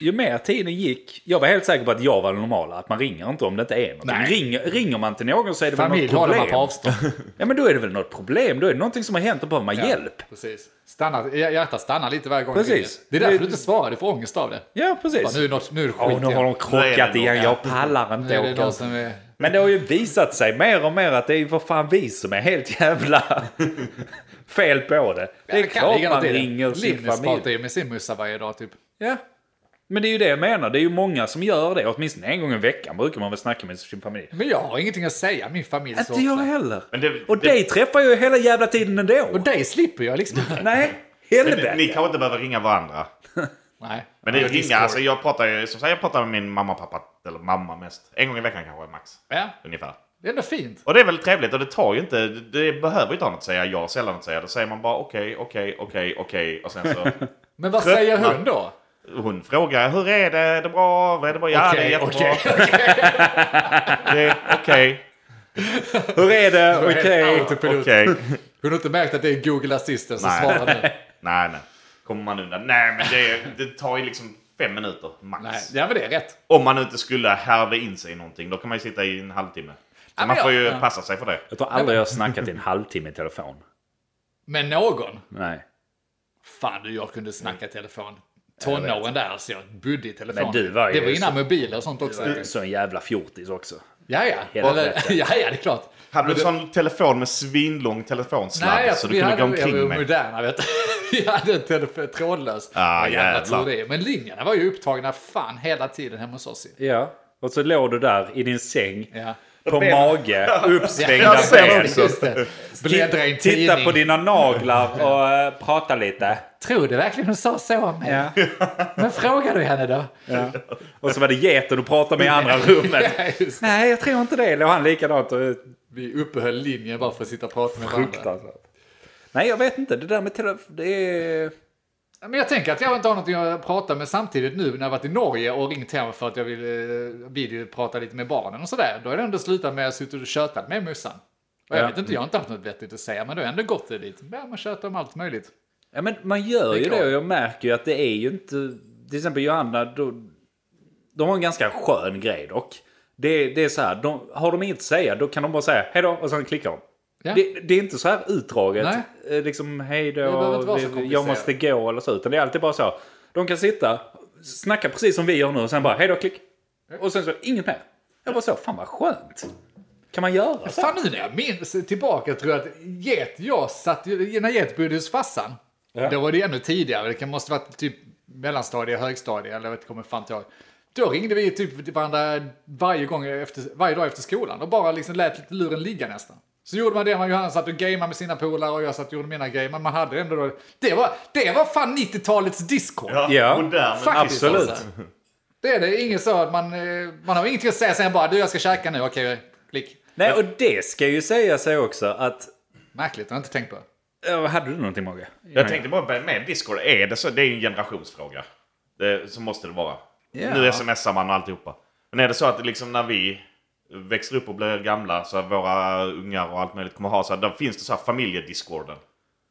A: ju mer tiden gick, jag var helt säker på att jag var den normala, att man ringer inte om det inte är någonting.
B: Nej.
A: Ringer, ringer man till någon så är det
B: Familj
A: väl något
B: håller man
A: problem.
B: på avstånd.
A: Ja men då är det väl något problem, då är det någonting som har hänt och behöver man hjälp.
B: Precis. Stanna, hjärtat stannar lite varje gång
A: Precis.
B: du ringer. Det är därför du inte svarar, du får ångest av det.
A: Ja
B: Bara,
A: precis.
B: nu är det något- nu är det skit
A: Åh, nu har
B: igen.
A: de
C: Nu är
A: krockat
C: det
A: igen,
C: någon,
A: jag pallar
B: Nu
A: inte
B: är det
A: åka.
B: någon som är...
A: Men det har ju visat sig mer och mer att det är ju för fan vi som är helt jävla fel på det. Det är
B: kan
A: klart
B: ligga något
A: man
B: i det.
A: ringer sin
B: Linus
A: familj.
B: pratar ju med sin mussa varje dag typ.
A: Ja. Men det är ju det jag menar, det är ju många som gör det. Åtminstone en gång i veckan brukar man väl snacka med sin familj.
B: Men jag har ingenting att säga min familj så
A: Inte jag
B: ofta.
A: heller.
C: Men det-
A: och
C: det-
A: dig träffar jag ju hela jävla tiden ändå.
B: Och dig slipper jag liksom inte.
A: Nej,
C: Men ni- Ni
A: helvete.
C: kanske inte behöver ringa varandra.
B: Nej.
C: Men det är
B: Discord.
C: ringa, alltså jag pratar ju, som sagt, jag pratar med min mamma och pappa, eller mamma mest. En gång i veckan kanske, max.
B: Ja,
C: Ungefär.
B: det är ändå fint.
C: Och det är väl trevligt och det tar ju inte, det behöver ju inte ha något att säga, jag har sällan något att säga. Då säger man bara okej, okej, okej, okej och sen så
B: Men vad
C: Tröttnar.
B: säger hon då?
C: Hon frågar hur är det? Är det bra? Vad är det bra? Ja, det är
B: okej,
C: jättebra. Okej. Det är okej.
A: Hur är det? Okej.
B: Autopilot.
C: Okej.
B: Hon har inte märkt att det är Google Assistant som
C: Nej.
B: svarar nu.
C: Nej, nej. Kommer man undan? Nej, men det, är- det tar ju liksom fem minuter max.
B: Nej, ja, men det är rätt.
C: Om man inte skulle härva in sig i någonting, då kan man ju sitta i en halvtimme.
B: Ja,
C: man
B: men
C: får
B: jag-
C: ju
B: ja.
C: passa sig för det.
A: Jag tror aldrig jag har snackat i en halvtimme i telefon.
B: Men någon.
A: Nej.
B: Fan du, jag kunde snacka i telefon. Tonåren där alltså, jag budde i telefon.
A: Men du var ju
B: det var
A: så-
B: innan mobiler och sånt också.
A: Du är Så en jävla fjortis också.
B: Ja, ja. Eller,
A: Helvete.
B: ja, ja, det är klart.
C: Hade du en sån telefon med svinlång telefonsladd
B: Nej,
C: så
B: alltså,
C: du
B: vi
C: kunde
B: hade,
C: gå
B: vi
C: omkring
B: var
C: med?
B: moderna vet du. Vi hade en telefon trådlös.
C: Ah,
B: Vad jävla
C: jävlar.
B: tur det är. Men linjerna var ju upptagna fan hela tiden hemma hos oss. ju.
A: Ja. Och så låg du där i din säng.
B: Ja.
A: På mage, uppsvängda
C: Jag ser
A: ben.
C: dem.
B: Just det, just det. Bläddra i en
A: Titta
B: tidning.
A: på dina naglar och eh, prata lite.
B: Tror du verkligen hon sa så om mig? Men frågar du henne då?
A: Och så var det geten du pratade med i andra rummet.
B: Ja, just det.
A: Nej, jag tror inte det. Låg han likadant och
B: Vi uppehöll linjen bara för att sitta och prata med varandra.
A: fruktansvärt. Nej, jag vet inte. Det där med telefon, det är...
B: Men jag tänker att jag inte har någonting att prata med samtidigt nu när jag varit i Norge och ringt hem för att jag vill eh, videoprata lite med barnen och sådär. Då är det ändå slutat med att jag suttit och tjötat med morsan. Och jag
A: Ja.
B: vet inte, jag har inte haft något vettigt att säga, men då har jag ändå gått det dit. Ja, man tjötar om allt möjligt.
A: Ja, men man gör
B: Det är
A: ju
B: klart.
A: det och jag märker ju att det är ju inte... Till exempel Johanna, då, de har en ganska skön grej dock. Det, det är så här, de, har de inget att säga då kan de bara säga hej då och sen klickar de.
B: Ja.
A: Det, det är inte så här utdraget,
B: Nej.
A: eh, liksom hej då,
B: behöver inte vara
A: vi-
B: så
A: jag
B: komplicerat.
A: måste gå eller så. Utan det är alltid bara så. De kan sitta, snacka precis som vi gör nu och sen bara hej då, klick. Och sen så inget mer. Jag bara så, fan vad skönt. Kan man göra så?
B: Fan nu när jag minns tillbaka tror jag att get, jag satt, ju- när get bodde hos farsan,
A: Ja.
B: då var det ännu tidigare, det kan måste varit typ mellanstadie, högstadie eller jag vet inte, kommer fan inte ihåg. Då ringde vi typ varandra varje, gång efter, varje dag efter skolan och bara liksom lät lite luren ligga nästan. Så gjorde man det, man Johanna satt och gameade med sina polare och jag satt och gjorde mina grejer, men man hade ändå då, det var, det var fan 90-talets discord.
A: Ja,
C: modern.
B: Faktiskt,
A: absolut.
B: alltså. Det är det, inget så att man, eh, man har ingenting att säga sen bara du jag ska käka nu, okej, klick.
A: Nej, och det ska ju säga sig också att...
B: Märkligt, det har jag inte tänkt på.
A: eh, Hade du någonting Mogge?
C: Jag tänkte bara med Discord, är det så? Det är ju en generationsfråga. Det, så måste det vara.
A: Ja.
C: Nu smsar man och alltihopa. Men är det så att liksom när vi växer upp och blir gamla så att våra ungar och allt möjligt kommer ha så här, då finns det så här familjediscorden.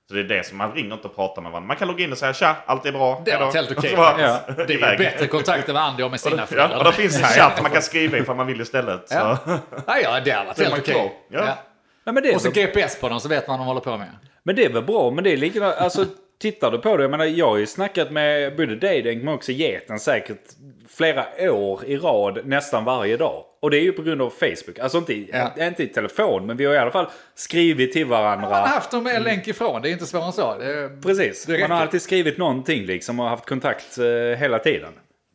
C: Så det är det som man ringer inte och pratar med varandra. Man kan logga in och säga tja, allt är bra.
B: Det
C: Hej då."
B: var helt okej.
C: Och så bara-
A: Ja.
B: Det är ju
C: iväg.
B: bättre kontakter med Andy och med sina
C: Ja, och då
B: föräldrar.
C: finns det en chatt man kan skriva ifall man vill istället.
B: Ja.
C: Så.
B: Ja, ja, det har varit helt
C: man klar.
B: okej.
C: Ja.
B: Ja.
A: Nej, men det är
B: Och så
A: väl-
B: GPS på dem så vet man vad de håller på med.
A: Men det är väl bra, men det är likadant. Alltså, tittar du på det, jag menar jag har ju snackat med både dig Denk, men också geten säkert flera år i rad nästan varje dag. Och det är ju på grund av Facebook. Alltså inte i,
B: Ja.
A: inte i telefon, men vi har i alla fall skrivit till varandra.
B: Man har haft dem en länk ifrån, det är inte svårare än så. Det är...
A: Precis,
B: Det räcker.
A: man har alltid skrivit någonting liksom och haft kontakt eh, hela tiden.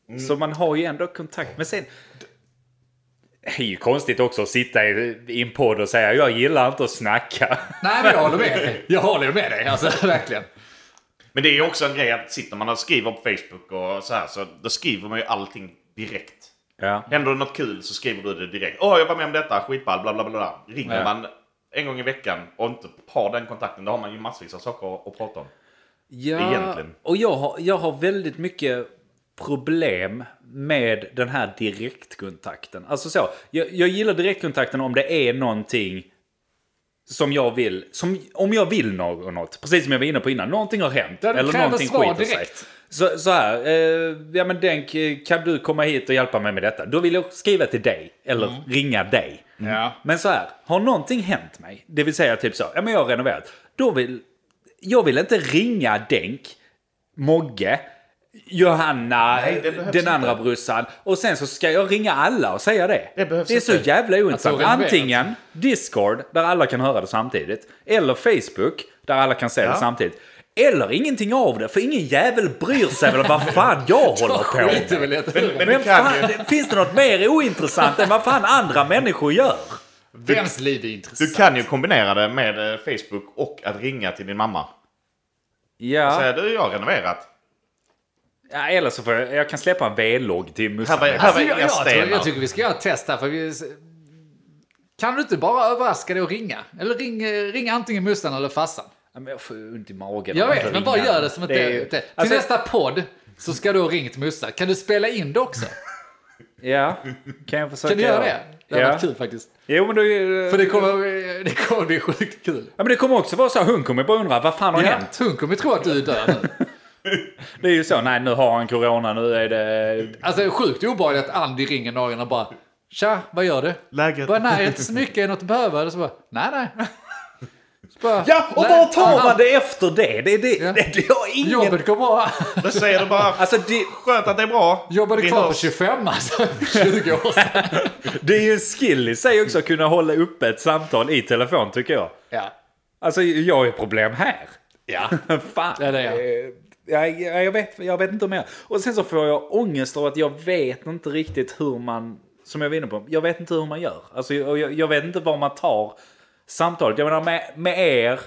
B: Mm.
A: Så man har ju ändå kontakt. Men sen... Det är ju konstigt också att sitta i, i en podd och säga jag gillar inte att snacka.
B: Nej, men jag håller med dig. Jag håller med dig, alltså verkligen.
C: Mm. Men det är ju också en grej att sitter man och skriver på Facebook och så här så då skriver man ju allting direkt.
A: Ja.
C: Händer det något kul så skriver du det direkt. Åh, jag var med om detta, skitball, bla bla bla, bla. Ringer
A: Ja.
C: man en gång i veckan och inte har den kontakten, då har man ju massvis av saker att, att prata om.
A: Ja,
C: Egentligen.
A: och jag har, jag har väldigt mycket problem med den här direktkontakten. Alltså så, jag, jag gillar direktkontakten om det är någonting som jag vill, som, om jag vill något, något, precis som jag var inne på innan, någonting har hänt
B: Ja, det
A: eller
B: kräver
A: någonting
B: svar
A: skiter sig.
B: direkt.
A: Så, så här, eh, ja men Denk, eh, kan du komma hit och hjälpa mig med detta? Då vill jag skriva till dig, eller
B: Mm.
A: ringa dig.
B: Ja.
A: Men så här, har någonting hänt mig, det vill säga typ så, ja men jag har renoverat, då vill, jag vill inte ringa Denk, Mogge, Johanna,
C: Nej, det behövs
A: den andra
C: inte.
A: brorsan och sen så ska jag ringa alla och säga det.
C: Det behövs
A: det är så
C: inte.
A: jävla
B: Alltså,
A: ointressant.
B: renoverat.
A: Antingen Discord, där alla kan höra det samtidigt, eller Facebook, där alla kan se det samtidigt. Eller ingenting av det, för ingen jävel bryr sig väl vad fan jag håller på med.
B: Skiter väl i att
C: Men
A: Men
C: det kan
A: fan,
C: ju...
A: det- finns det något mer ointressant än vad fan andra människor gör?
B: Vems liv är
C: Du
B: intressant?
C: kan ju kombinera det med eh, Facebook och att ringa till din mamma.
A: Ja,
C: Säga du, jag har renoverat.
A: ja eller så får jag, jag kan släppa en V-logg till
C: Här var,
A: Musse.
C: här var
B: jag,
C: inga
B: jag, tror, jag
C: stenar.
B: tycker vi ska göra ett test här. För vi, kan du inte bara överraska dig och ringa? Eller ring, eh, ring antingen Mustan eller Fassan.
A: Ja, men Jag får ju ont i magen.
B: Jag
A: av att
B: vet, men
A: Alltså, ringa.
B: bara gör det som ett...
A: Det är ju-
B: Till
A: Alltså-
B: nästa podd så ska du ha ringt Mussa. Kan du spela in det också?
A: Ja, kan jag försöka
B: Kan du göra det? Det hade
A: ja.
B: varit kul faktiskt.
A: Jo, men då...
B: För det kommer, det kommer bli sjukt kul.
A: Ja, men det kommer också vara så här, hon kommer bara undra vad fan har
B: Ja,
A: hänt?
B: hon kommer tro att du är död nu.
A: Det är ju så, nej nu har han corona, nu är det...
B: Alltså det är sjukt obehagligt att Andy ringer någon och bara Tja, vad gör du?
C: Läget?
B: Bara nej, inte så mycket, är något du behöver? Och så bara nej, nej. Så bara,
A: Ja, och
B: "Nej,
A: var tar
B: aha,
A: man det efter det? Det är det,
B: Ja.
A: det, det har ingen...
B: Jobbet går bra.
C: Då säger du bara,
A: Alltså det,
C: skönt att det är bra.
B: Jobbade
C: Vi
B: kvar på
C: hörs."
B: 25 alltså, för 20 år sedan.
A: det är ju en skill i sig också att kunna hålla uppe ett samtal i telefon tycker jag.
B: Ja,
A: Alltså jag har ju problem här.
B: ja.
A: Fan.
B: Ja, det är jag.
A: Eh, Jag, jag, jag, vet, jag vet inte om jag... Och sen så får jag ångest av att jag vet inte riktigt hur man... Som jag var inne på, jag vet inte hur man gör. Alltså, jag, jag, jag vet inte var man tar samtalet. Jag menar med, med er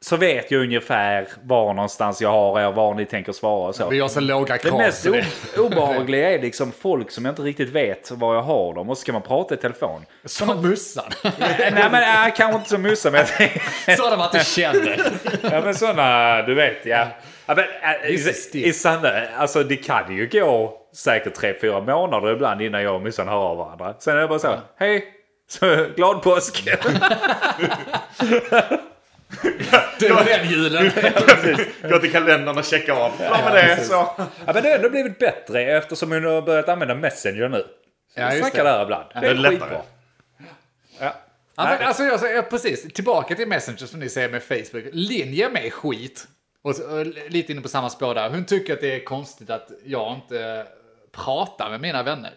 A: så vet jag ungefär var någonstans jag har er, var ni tänker svara och så.
B: Vi har så låga
A: Det
B: krav.
A: mest
B: så det-
A: o- obehagliga är liksom folk som jag inte riktigt vet var jag har dem och så ska man prata i telefon.
B: Som mussan.
A: Nej men äh, kanske inte som Musse men jag tänker-
B: Sådana man inte känner.
A: Ja men sådana, du vet ja. ja men, äh,
B: Just det,
A: i,
B: still.
A: I sanna, alltså det kan ju gå säkert tre fyra månader ibland innan jag och Mussan hör av varandra. Sen är det bara så, hej! Så, glad påsk!
B: Det var den julen.
C: Gå till kalendern och checka av. Klar med det så.
A: ja, men det har ändå blivit bättre eftersom hon har börjat använda Messenger nu. Så
B: Ja,
A: vi
B: just
A: snackar
B: det.
A: där ibland. Det är,
C: Det är lättare.
A: skitbra.
B: Ja, men alltså, jag, säger- precis, tillbaka till Messenger som ni säger med Facebook. Linje med skit. Och, så- och lite inne på samma spår där. Hon tycker att det är konstigt att jag inte eh, pratar med mina vänner.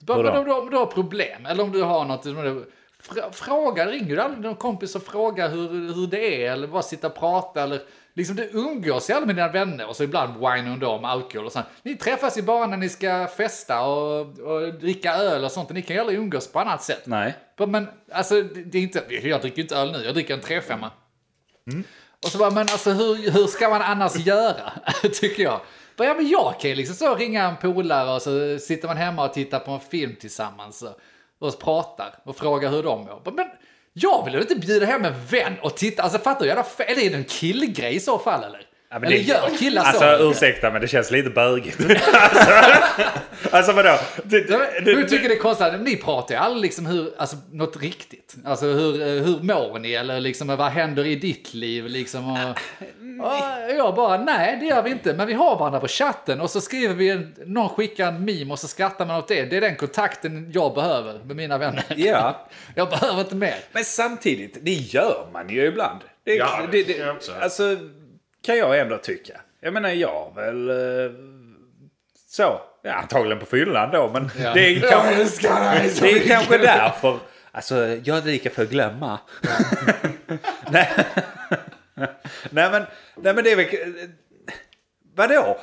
B: Bara,
A: Vadå?
B: men om, du, om du har problem eller om du har något. som du- Fra, fråga, ringer du aldrig någon kompis och frågar hur, hur det är eller bara sitta och prata eller liksom du umgås ju aldrig med dina vänner och så ibland whinar hon då om alkohol och sånt. Ni träffas ju bara när ni ska festa och, och dricka öl och sånt och ni kan ju aldrig umgås på annat sätt.
A: Nej.
B: Bara, Men alltså, det det är inte, jag dricker inte öl nu, jag dricker en 3-5. Och så bara, men alltså hur, hur ska man annars göra? Tycker jag. Bara, ja, men jag kan ju liksom så ringa en polare och så sitter man hemma och tittar på en film tillsammans och, och pratar och frågar hur de mår. Bara, men jag vill ju inte bjuda hem en vän och titta, alltså fattar du? jävla fe- Eller är det en killgrej i så fall eller?
A: Ja, men
B: eller
A: det-
B: gör killar
A: Alltså
B: så?
A: ursäkta men det känns lite bögigt. alltså, alltså vadå? Du, du,
B: Ja, men
A: du,
B: Hur tycker det är konstigt? Ni pratar ju aldrig liksom hur, alltså något riktigt. Alltså hur, eh, hur mår ni eller liksom vad händer i ditt liv liksom? Och, och jag bara, nej det gör vi inte, men vi har varandra på chatten och så skriver vi, en, någon skickar en meme och så skrattar man åt det. Det är den kontakten jag behöver med mina vänner.
A: ja.
B: Jag behöver inte mer.
A: Men samtidigt, det gör man ju ibland. Det, är-
C: Ja, det tycker jag också.
A: Alltså, kan jag ändå tycka. Jag menar, jag har väl... eh, Så. Ja, antagligen på fyllan då, men
B: Ja.
A: det är kanske,
B: älskar dig så
A: det är
B: mycket.
A: kanske därför. Alltså, jag är lika för att glömma. nej. nej, men, nej, men det är väl... Vadå?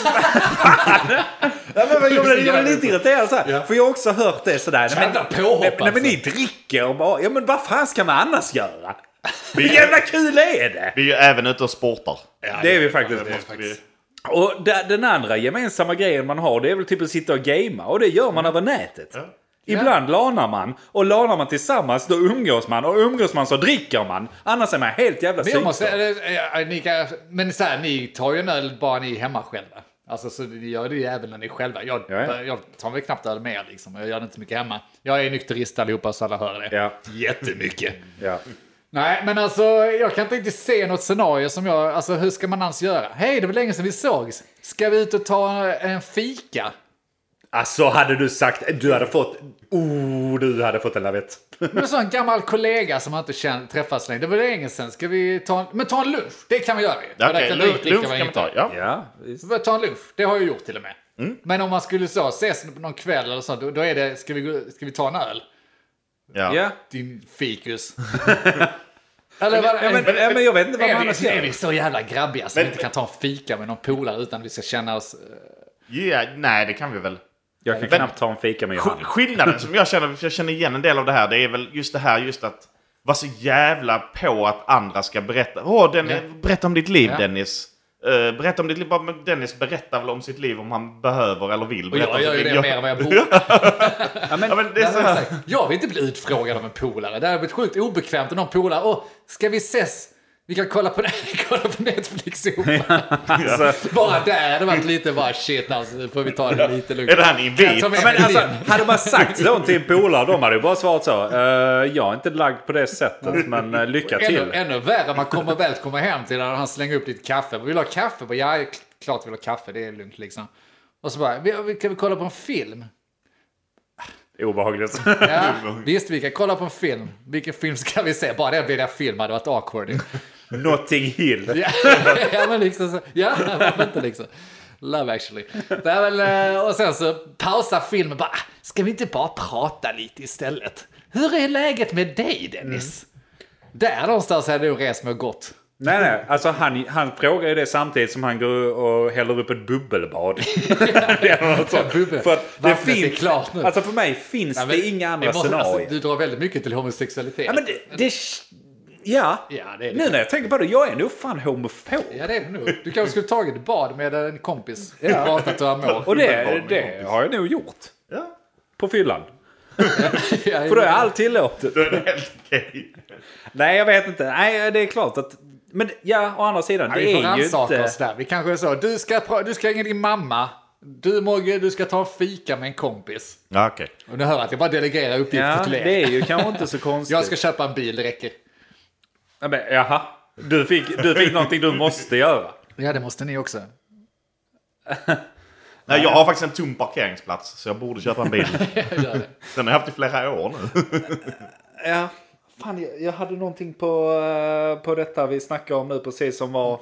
A: Nej, men jag, blev, jag blev lite irriterad så här. För jag har också hört det sådär. Nej, men-
B: Jävla påhopp,
A: nej, nej, men
B: alltså.
A: ni dricker bara. Ja men vad fan ska man annars göra? Hur jävla kul är det?
C: Vi är ju även ute och sportar.
A: Det är vi faktiskt.
C: måste vi-
A: Och där, den andra gemensamma grejen man har det är väl typ att sitta och gamea. Och det gör man över nätet. Ibland lanar man och lanar man tillsammans då umgås man och umgås man så dricker man. Annars är man helt jävla
B: Men jag måste,
A: psykstörd.
B: eller, eh, eh, ni kan, men så här, ni tar ju en öl bara ni är hemma själva. Alltså så ni gör det ju även när ni är själva. Jag,
A: Ja, ja.
B: jag tar väl knappt öl mer liksom. Jag gör det inte så mycket hemma. Jag är nykterist allihopa så alla hör det.
A: Ja.
B: Jättemycket.
A: Ja.
B: Nej, men alltså jag kan inte riktigt se något scenario som jag, alltså hur ska man ens göra? Hej, det var länge sedan vi sågs. Ska vi ut och ta en fika?
A: Alltså hade du sagt, du hade fått, oh, du hade fått en lavett.
B: Men så en gammal kollega som man inte känner, träffas längre. Det var länge sedan, ska vi ta en, men ta en lunch? Det kan vi göra ju.
C: Ja,
B: För där
C: Okej,
B: kan
C: lunch,
B: vi dricka
C: lunch
B: vad
C: kan vi
B: inte.
C: ta. Ja.
A: Ja, visst.
B: Vi tar en lunch, det har jag gjort till och med. Men om man skulle så ses någon kväll eller så, då, då är det, ska vi, gå- ska vi ta en öl?
C: Ja.
A: Ja.
B: Din fikus. eller vad,
A: Ja, men, ja, men jag vet inte vad man annars
B: är, vi, är vi
A: gör.
B: så jävla grabbiga som
C: Men-
B: inte kan ta en fika med någon polare utan vi ska känna oss...
C: Ja, nej, det kan vi väl.
A: Jag kan
C: Men-
A: knappt ta en fika med
C: Sk-
A: Johanna.
C: Skillnaden som jag känner, för jag känner igen en del av det här, det är väl just det här just att vara så jävla på att andra ska berätta. Åh, den, berätta om ditt liv
B: Ja.
C: Dennis. Eh, berätta om ditt liv. Bara, men Dennis berättar väl om sitt liv om han behöver eller vill.
B: Och
C: berätta om
B: jag gör
C: sitt
B: ju
C: liv.
B: det mer än vad jag borde.
A: Ja, men,
C: Ja, men det är så här.
B: Jag vill inte bli utfrågad av en polare. Det hade blivit sjukt obekvämt om någon polare, åh, ska vi ses? Vi kan kolla på, kolla på Netflix ihop.
A: alltså,
B: Bara där, det hade varit lite bara shit alltså, nu får vi ta det lite lugnt.
C: Är det här en
B: Kan jag
C: invit?
B: ta med
A: ja, men
B: mig
A: alltså,
B: din?
A: hade man sagt så till en polare, de hade ju bara svarat så. eh, jag är inte lagd på det
B: Mm.
A: sättet, men eh, lycka
B: Ännu,
A: till.
B: ännu värre, man kommer väl komma hem till när han slänger upp lite kaffe. Vill du ha kaffe? Bara, ja, klart vi vill ha kaffe, det är lugnt liksom. Och så bara, "Vi- vi- kan vi kolla på en film?
A: Obehagligt.
B: Ja, visst, vi kan kolla på en film. Vilken film ska vi se? Bara det blir en film hade varit awkward.
A: Mm.
B: ju.
A: Notting Hill.
B: Ja, ja men liksom så. Ja, varför inte liksom. Love actually. Det är väl, eh, och sen så pausa filmen bara, "Ah, ska vi inte bara prata lite istället? Hur är läget med dig Dennis?
A: Mm.
B: Där någonstans hade du rest mig och gått.
A: Nej, nej. Alltså, han, han frågar ju det samtidigt som han går och häller upp ett bubbelbad. Eller något sånt.
B: Bubbel.
A: För att det
B: Vattnet är
A: finns,
B: klart nu.
A: Alltså för mig finns
B: Ja, men
A: det inga andra
B: det måste-
A: scenarier.
B: Alltså, du drar väldigt mycket till homosexualitet.
A: Ja, men det... det ja.
B: Ja, det är det.
A: Nu när jag tänker på det, jag är nog fan homofob.
B: Ja, det är det nog. Du kanske skulle tagit ett bad med en kompis och pratat hur han mår.
A: Och det,
C: Homofob,
A: det
C: kompis.
A: har jag nog gjort.
C: Ja.
A: På fyllan.
B: Ja,
A: För då är allt tillåtet.
C: Då är det helt okej.
A: Nej, jag vet inte. Nej, det är klart att... Men ja, å andra sidan, det
B: Vi får
A: är ju
B: rannsaka
A: inte...
B: oss där. Vi kanske är så. Du ska, pra- du ska ringa din mamma. Du Mogge, du ska ta en fika med en kompis.
C: Ja, okej.
B: Och nu hör jag att jag bara delegerar uppgifter
A: Ja,
B: till er.
A: det är ju kanske inte så konstigt.
B: Jag ska köpa en bil, det räcker.
A: ja, men, jaha. Du fick, du fick någonting du måste göra.
B: Ja, det måste ni också. Eh,
C: Nej, jag har faktiskt en tom parkeringsplats så jag borde köpa en bil.
B: Gör det.
C: Den har jag haft i flera år nu.
A: Ja. Fan, jag, jag hade någonting på, eh, på detta vi snackade om nu precis som var...
B: Eh,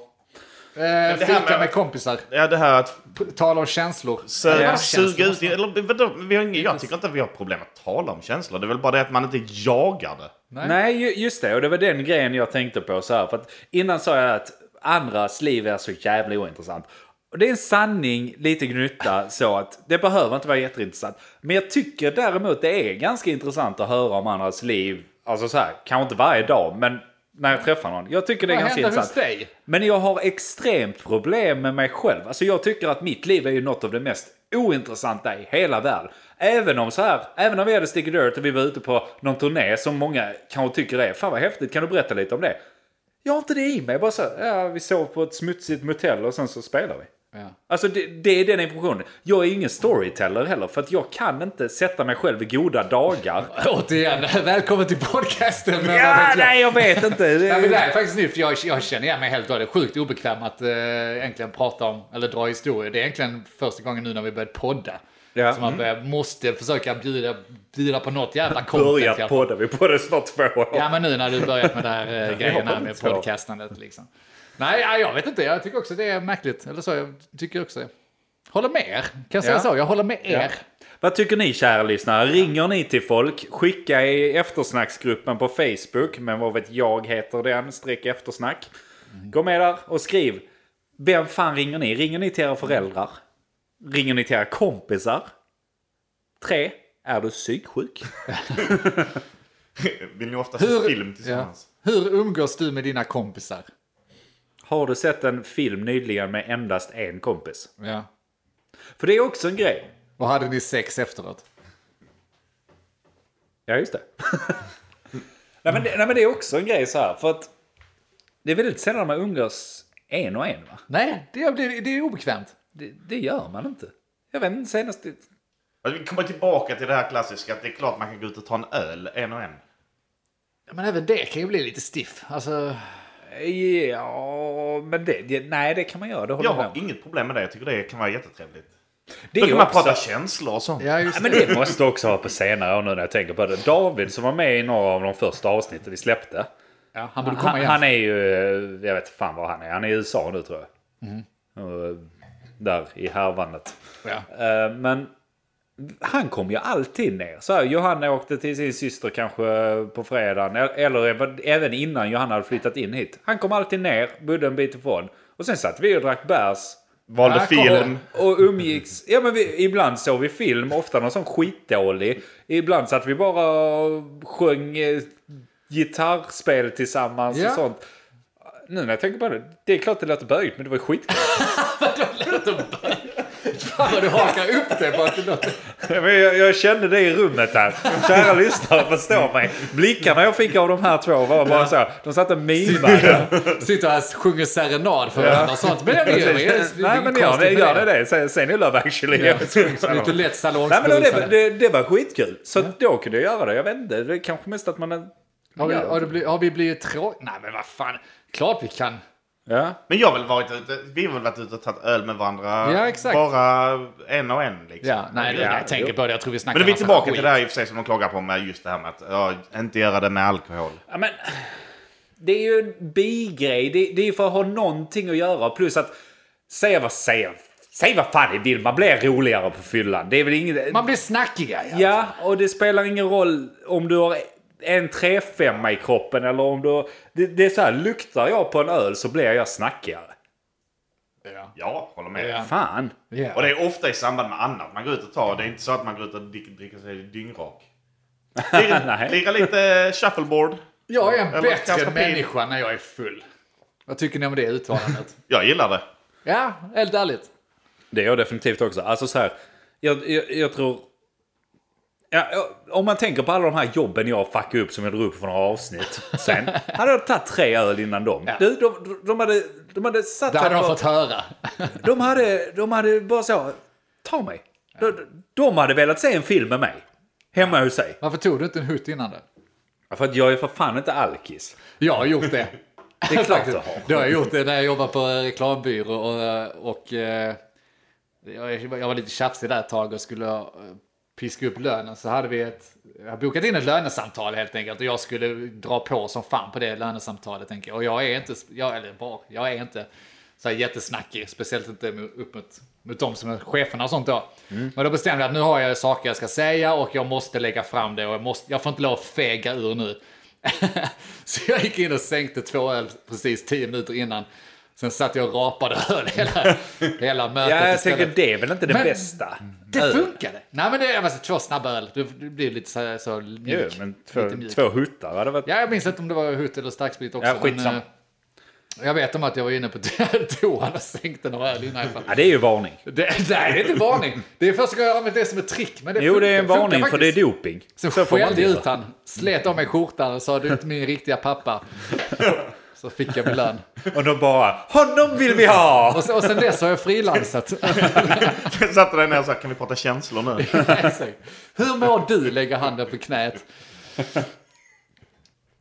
C: det här
B: fika
C: med-
B: med kompisar.
C: Ja, det här att
B: P- Tala om känslor.
C: Så,
A: Ja.
C: suga ut, eller, vadå? vi har ingen, jag tycker inte att vi har problem att tala om känslor. Det är väl bara det att man inte jagar det.
B: Nej.
A: Nej, ju- just det. Och det var den grejen jag tänkte på. Så här, för att innan sa jag att andras liv är så jävla ointressant. Och det är en sanning, lite gnutta, så att det behöver inte vara jätteintressant. Men jag tycker däremot det är ganska intressant att höra om andras liv. Alltså så här, kanske inte varje dag, men när jag träffar någon. Jag tycker det är
B: Vad
A: ganska
B: händer hos
A: intressant.
B: dig?
A: Men jag har extremt problem med mig själv. Alltså jag tycker att mitt liv är ju något av det mest ointressanta i hela världen. Även om så här, även om vi hade Sticky Dirt och vi var ute på någon turné som många kanske tycker är fan vad häftigt, kan du berätta lite om det? Jag har inte det i mig, bara så här, ja, vi sov på ett smutsigt motell och sen så spelar vi.
B: Ja.
A: Alltså det, det är den impressionen. Jag är ingen storyteller heller för att jag kan inte sätta mig själv i goda dagar.
B: Återigen, välkommen till podcasten. med Robert
A: ja,
B: Lapp.
A: nej jag vet inte. Det-
B: Nej, men det här är faktiskt nytt, för jag, jag känner igen mig helt och hållet. Det är Sjukt obekväm att eh, egentligen prata om, eller dra historier. Det är egentligen första gången nu när vi börjat podda.
A: Ja. mm.
B: Som man börjar, måste försöka bjuda, bjuda på något jävla content. i alla
A: Börjat
B: fall.
A: podda, vi poddar snart två år.
B: Ja, men nu när du börjat med det här eh, grejen
A: har
B: här med
A: inte så.
B: podcastandet liksom. Nej, ja, jag vet inte. Jag tycker också det är märkligt. Eller så, jag tycker också det. Håller med er. Kan jag säga
A: Ja.
B: så? Jag håller med er.
A: Vad tycker ni kära lyssnare? Ringer ni till folk? Skicka i eftersnacksgruppen på Facebook. Men vad vet jag heter den? Streck eftersnack. Gå med där och skriv. Vem fan ringer ni? Ringer ni till era föräldrar? Ringer ni till era kompisar? 3. Är du psyksjuk?
C: Vill ni ofta se film tillsammans?
B: Ja. Hur umgås du med dina kompisar?
A: Har du sett en film nyligen med endast en kompis?
B: Ja.
A: För det är också en grej.
B: Och hade ni sex efteråt?
A: Ja, just det. nej, men det. Nej, men det är också en grej så här. För att det är väldigt sällan man umgås en och en, va?
B: Nej, det, blir, det är obekvämt.
A: Det, det gör man inte. Jag vet inte, senast...
C: Alltså, vi kommer tillbaka till det här klassiska att det är klart man kan gå ut och ta en öl en och en.
B: Ja, Men även det kan ju bli lite stiff. Alltså,
A: Ja, men det, det, nej, det kan man göra. Det håller
C: Jag
A: jag med
C: har
A: om.
C: inget problem med det. Jag tycker det kan vara jättetrevligt.
A: Det
C: Då kan man
A: också-
C: prata känslor och sånt.
B: ja, just
A: Ja, men det måste också ha på senare år nu när jag tänker på det. David som var med i några av de första avsnitten vi släppte.
B: Ja, han borde komma
A: Han,
B: igen.
A: han är ju, eh, jag vet fan var han är. Han är i USA nu tror jag.
B: Mhm.
A: Och, eh, Där i härvandet.
B: ja.
A: Eh, Men han kom ju alltid ner. Så här, Johanna åkte till sin syster kanske på fredagen. el- Eller även- även innan Johanna hade flyttat in hit. Han kom alltid ner, bodde en bit ifrån. Och sen satt vi och drack bärs.
C: Valde
B: Ja,
C: film.
A: Och umgicks. Ja, men vi, ibland såg vi film, ofta någon sån skitdålig. Ibland satt vi bara och sjöng eh, gitarrspel tillsammans
B: Ja.
A: och sånt. Nu när jag tänker på det, det är klart det låter böjt men det var ju skitkul.
B: Fan vad du hakar upp det på att det låter...
A: Ja, men jag, jag kände det i rummet här. Kära lyssnare, förstå mig. Blickarna jag fick av de här två var bara så. här, De satt och mimade.
B: Sitter här och sjunger serenad för varandra och sånt. Men det gör det.
A: Nej men gör det, gör det det. Sen, sen är Love actually. Jag sjunger så här.
B: Lite lätt
A: Nej, men det,
B: salongsberusande.
A: det, det var skitkul. Så då kunde jag göra det. Jag vet inte, det är kanske mest att man...
B: Har, vi- har, det blivit- har vi blivit tråkiga? Nej men vad fan. Klart vi kan.
A: Ja.
C: Men jag har väl varit ute, vi har väl varit ute och tagit öl med varandra.
B: Ja, exakt.
C: Bara en och en liksom.
B: Ja, nej, det,
A: Ja,
B: jag tänker på det. Jag tror vi snackar
C: Men då är vi
B: massa
C: tillbaka
B: skit.
C: till det här i och för sig som de klagar på med just det här med att ja, inte göra det med alkohol.
A: Ja, men, det är ju en bigrej. Det, det är för att ha någonting att göra. Plus att säga vad, säga, säg vad fan ni vill. Man blir roligare på fyllan. Det är väl inget...
B: Man blir snackiga. Ja.
A: Ja, och det spelar ingen roll om du har en 3-5 i kroppen eller om du... Det, det är så här, luktar jag på en öl så blir jag snackigare.
B: Ja.
C: Ja, håller med.
B: Ja.
A: Fan!
B: Ja.
C: Och det är ofta i samband med annat man går ut och tar. Det är inte så att man går ut och drick- dricker sig dyngrak. Lira-
A: Nej.
C: Lira lite shuffleboard.
B: Jag är en
C: Eller
B: bättre
C: kanske pin.
B: människa när jag är full. Vad tycker ni om det uttalandet?
C: Jag gillar det.
B: ja, helt ärligt.
A: Det är jag definitivt också. Alltså så här, jag, jag, jag tror... Ja, jag- om man tänker på alla de här jobben jag fuckade upp som jag drog upp för några avsnitt sen. Hade jag tagit tre öl innan dem.
B: Ja.
A: Du, de, de, hade, de hade satt
B: Det hade
A: här
B: de
A: på-
B: fått höra.
A: De hade, de hade bara så, ta mig. De, de hade velat se en film med mig. Hemma hos sig.
B: Varför tog du inte en hutt innan det?
A: Ja, För att jag är för fan inte alkis.
B: Jag har gjort det.
A: Det är klart du
B: Faktiskt.
A: har.
B: Det har jag gjort det när jag jobbade på eh, reklambyrå och, eh, och eh, jag jag var lite tjafsig där ett tag och skulle eh, piska upp lönen så hade vi ett, jag har bokat in ett lönesamtal helt enkelt och jag skulle dra på som fan på det lönesamtalet tänker jag. Och jag är inte, jag, eller var, jag är inte så här jättesnackig, speciellt inte mo- upp mot, mot de som är cheferna och sånt då.
A: Mm.
B: Men då bestämde jag att nu har jag saker jag ska säga och jag måste lägga fram det och jag, måste, jag får inte lov att fega ur nu. så jag gick in och sänkte två öl precis tio minuter innan. Sen satt jag och rapade öl hela, hela mötet
A: Ja, jag
B: istället.
A: tänker det är väl inte det
B: Men-
A: bästa.
B: Det
A: Öl.
B: funkade! Nej men det var alltså, två snabba öl. Du, du blir lite så, så mjuk.
A: Jo, men två,
B: Lite mjuk.
A: två huttar hade varit...
B: Ja, jag minns inte om det var hut eller starksprit också.
A: Ja,
B: men,
A: skitsam.
B: eh, jag vet om att jag var inne på toan och sänkte några öl innan. jag fann-
A: Ja, det är ju varning.
B: Det, nej, det är inte en varning. Det är första gången jag har använt det som ett trick. Men det
A: Jo, det är en
B: funkar- funkar
A: varning för det är
B: faktiskt.
A: doping.
B: Sen
A: Så får man
B: skällde jag
A: inte
B: ut han, slet av mig skjortan och sa du är inte min riktiga pappa. Så fick jag belön.
A: göra. Och de bara, honom vill vi ha!
B: Och, så, och sen dess har jag frilansat.
C: Satte dig ner och sa kan vi prata känslor nu?
B: Exakt. Hur mår du? Lägger handen på knät.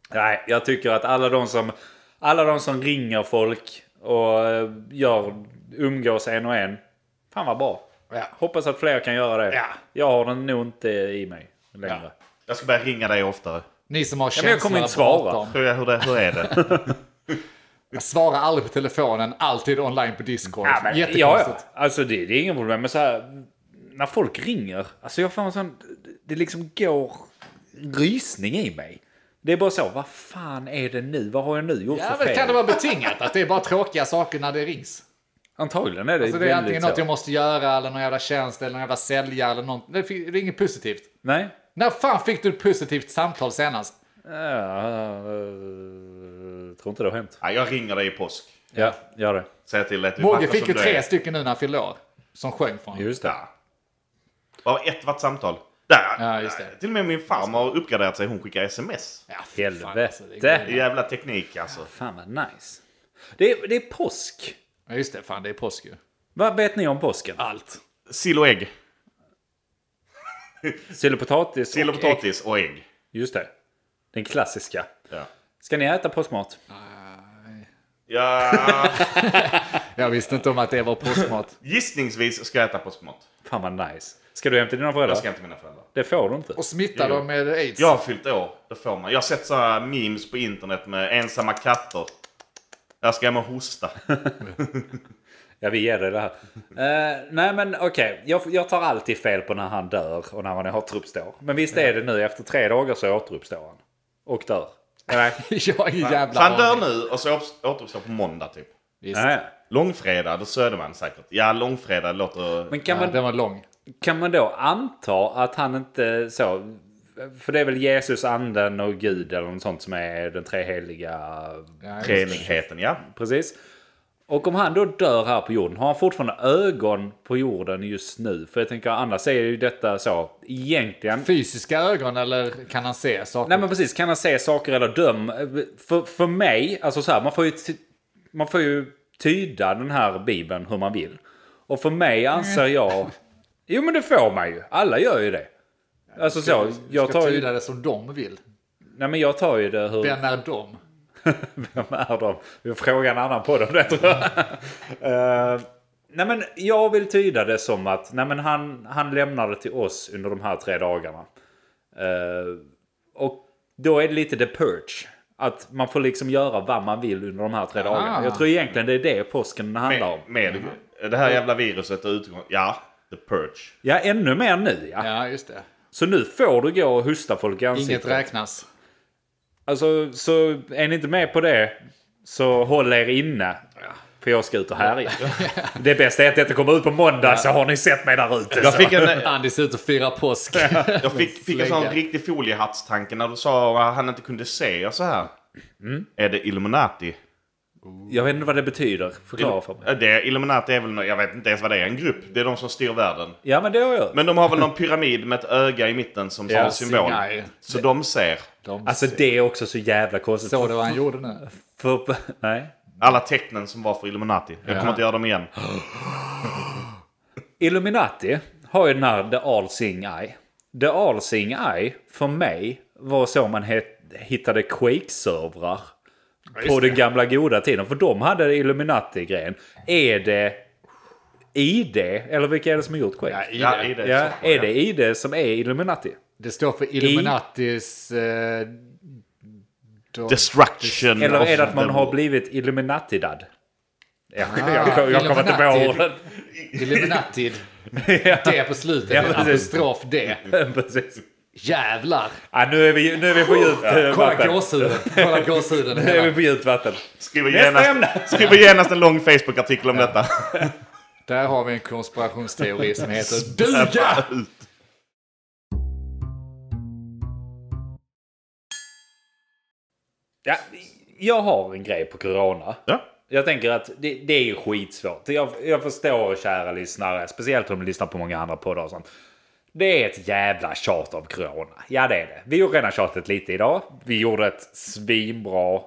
A: Nej, jag tycker att alla de som, alla de som ringer folk och eh, gör, umgås en och en. Fan vad bra.
B: Ja.
A: Hoppas att fler kan göra det.
B: Ja.
A: Jag har den nog inte i mig längre.
C: Jag ska börja ringa dig oftare.
B: Ni som har
A: Ja, men
B: känslor
A: jag kommer
B: att
A: inte svara.
B: prata om.
C: Hur är, hur det, hur är det?
B: Jag svarar aldrig på telefonen, alltid online på Discord.
A: Ja, men, ja, ja.
B: Jättekonstigt.
A: Alltså det, det är inga problem. Men så här, när folk ringer. Alltså jag får en sån... Det liksom går rysning i mig. Det är bara så, vad fan är det nu? Vad har jag nu gjort
B: Ja,
A: för
B: men
A: fel?
B: kan det vara betingat att det är bara tråkiga saker när det rings?
A: Antagligen är det
B: Så Alltså, det är antingen
A: väldigt
B: något
A: så.
B: jag måste göra eller någon jävla tjänst eller någon jävla säljare eller något. Det fi- det är inget positivt.
A: Nej.
B: När fan fick du ett positivt samtal senast?
A: Ja, eh, tror inte det har hänt.
C: Ja, jag ringer dig i påsk.
A: Ja, gör det.
C: Säg till dig att du
B: Båge
C: fattar
B: fick ju
C: som du
B: tre
C: är.
B: stycken nu när han fyllde år. Som sjöng för honom.
A: Just det.
C: Bara ett vart samtal. Där!
B: Ja, just det.
C: Till och med min farmor har uppgraderat sig. Hon skickar sms.
B: Ja, fy fan,
A: Helvete.
B: alltså, det är grymt.
C: Jävla teknik alltså.
A: Fan vad nice. Det är, det är påsk.
B: Ja, just det. Fan, det är påsk ju.
A: Vad vet ni om påsken?
B: Allt.
C: Sill och ägg.
A: Sill och potatis?
C: Sill och potatis och ägg.
A: Just det. Den klassiska.
C: Ja.
A: Ska ni äta påskmat?
C: ja.
B: Jag visste inte om att det var påskmat.
C: Gissningsvis ska jag äta påskmat.
A: Fan vad nice. Ska du hem till dina föräldrar?
C: Jag ska inte mina föräldrar.
A: Det får du inte.
B: Och smitta
C: Jo.
B: dem med aids.
C: Jag har fyllt år, det får man. Jag har sett sådana memes på internet med ensamma katter. Jag ska hem och hosta.
A: Ja, vi ger dig det här. Eh, nej, men okej. Jag, jag tar alltid fel på när han dör och när han återuppstår. Men visst är det nu, efter tre dagar så återuppstår han. Och dör. Nej.
B: Jag har ingen
C: Så
B: jävla
C: han dör
B: aning.
C: nu och så åter- återuppstår på måndag typ.
B: Visst.
A: nej.
C: Långfredag, då söder man säkert. Ja, långfredag låter...
A: Men kan
B: Ja,
A: man,
B: den var lång.
A: kan man då anta att han inte så... För det är väl Jesus, anden och Gud eller något sånt som är den treheliga...
B: Ja, just det.
C: Treenigheten, ja.
A: Precis. Och om han då dör här på jorden, har han fortfarande ögon på jorden just nu? För jag tänker annars är ju detta så egentligen...
B: Fysiska ögon eller kan han se saker?
A: Nej men precis, kan han se saker eller döm? För, för mig, alltså så här, man får, ju ty- man får ju tyda den här bibeln hur man vill. Och för mig anser
B: Mm.
A: jag... Jo men det får man ju, alla gör ju det. Alltså så, jag
B: ska
A: tar
B: tyda
A: ju,
B: det som de vill.
A: nej, men jag tar ju det hur...
B: Vem är de?
A: Vem är de? Vi frågar en annan på dem det tror jag. Eh, nej men jag vill tyda det som att nej men han, han lämnade till oss under de här tre dagarna. Eh, och då är det lite the purge. Att man får liksom göra vad man vill under de här tre dagarna. Jag tror egentligen det är det påsken handlar om.
C: Med, med det här jävla viruset och utgång. Ja, the purge.
A: Ja, ännu mer nu ja.
B: Ja, just det.
A: Så nu får du gå och hosta folk i
B: Inget
A: ansiktet.
B: räknas.
A: Alltså, så är ni inte med på det så håll er inne. För jag ska ut och härja. Det bästa är att detta kommer ut på måndag så har ni sett mig där ute.
C: Jag
A: så.
C: fick en,
B: Andy ser ut och firar påsk.
C: jag fick, fick en sån
B: Slägga.
C: riktig foliehattstanke när du sa att han inte kunde se. Jag så här. Är det Illuminati?
A: Jag vet inte vad det betyder. Förklara för mig.
C: Ja, Det, Illuminati är väl, nå- jag vet inte ens vad det är, en grupp. Det är de som styr världen.
A: Ja, men det har jag.
C: Men de har väl någon pyramid med ett öga i mitten som
A: Ja,
C: ja, symbol.
B: Sinai.
C: Så de ser.
B: De
A: Alltså det är också så jävla konstigt.
B: såg det vad han gjorde nu.
A: För, nej.
C: Alla tecknen som var för Illuminati. Jag kommer inte göra dem igen.
A: Illuminati har ju den här The All Seeing Eye. The All Seeing Eye, för mig, var så man het, hittade Quake-servrar på den gamla goda tiden. För de hade Illuminati-grejen. Är det ID? Eller vilka är det som har gjort Quake?
B: Ja, i
C: Ja,
B: det.
C: i det.
A: Ja,
C: Så-
A: är det ID som är Illuminati?
B: det står för Illuminatis... Eh, de-
C: Destruction
A: Eller är det
C: of
A: att man
C: the-
A: har blivit Illuminatidad? Jag, jag, jag kommer inte
B: Illuminati.
A: på orden.
B: Illuminatid.
A: Ja,
B: Det på slutet.
A: Ja,
B: Ja,
A: precis.
B: apostrof D.
A: precis.
B: Jävlar.
A: Ja, nu, är vi, nu är vi på djupt eh,
B: Kolla
A: vatten.
B: gåshuden. Kolla gåshuden.
A: Nu är
B: hela.
A: vi på djupt vatten.
C: Skriver
A: Nästa
C: genast,
A: ämne!
C: skriver genast en lång Facebook-artikel om detta.
B: Där har vi en konspirationsteori som heter duga.
A: Ja, jag har en grej på corona.
C: Ja.
A: Jag tänker att det, det är ju skitsvårt. Jag, jag förstår kära lyssnare, speciellt om ni lyssnar på många andra poddar och sånt. Det är ett jävla tjat av corona. Ja, det är det. Vi gjorde redan tjatet lite idag. Vi gjorde ett svinbra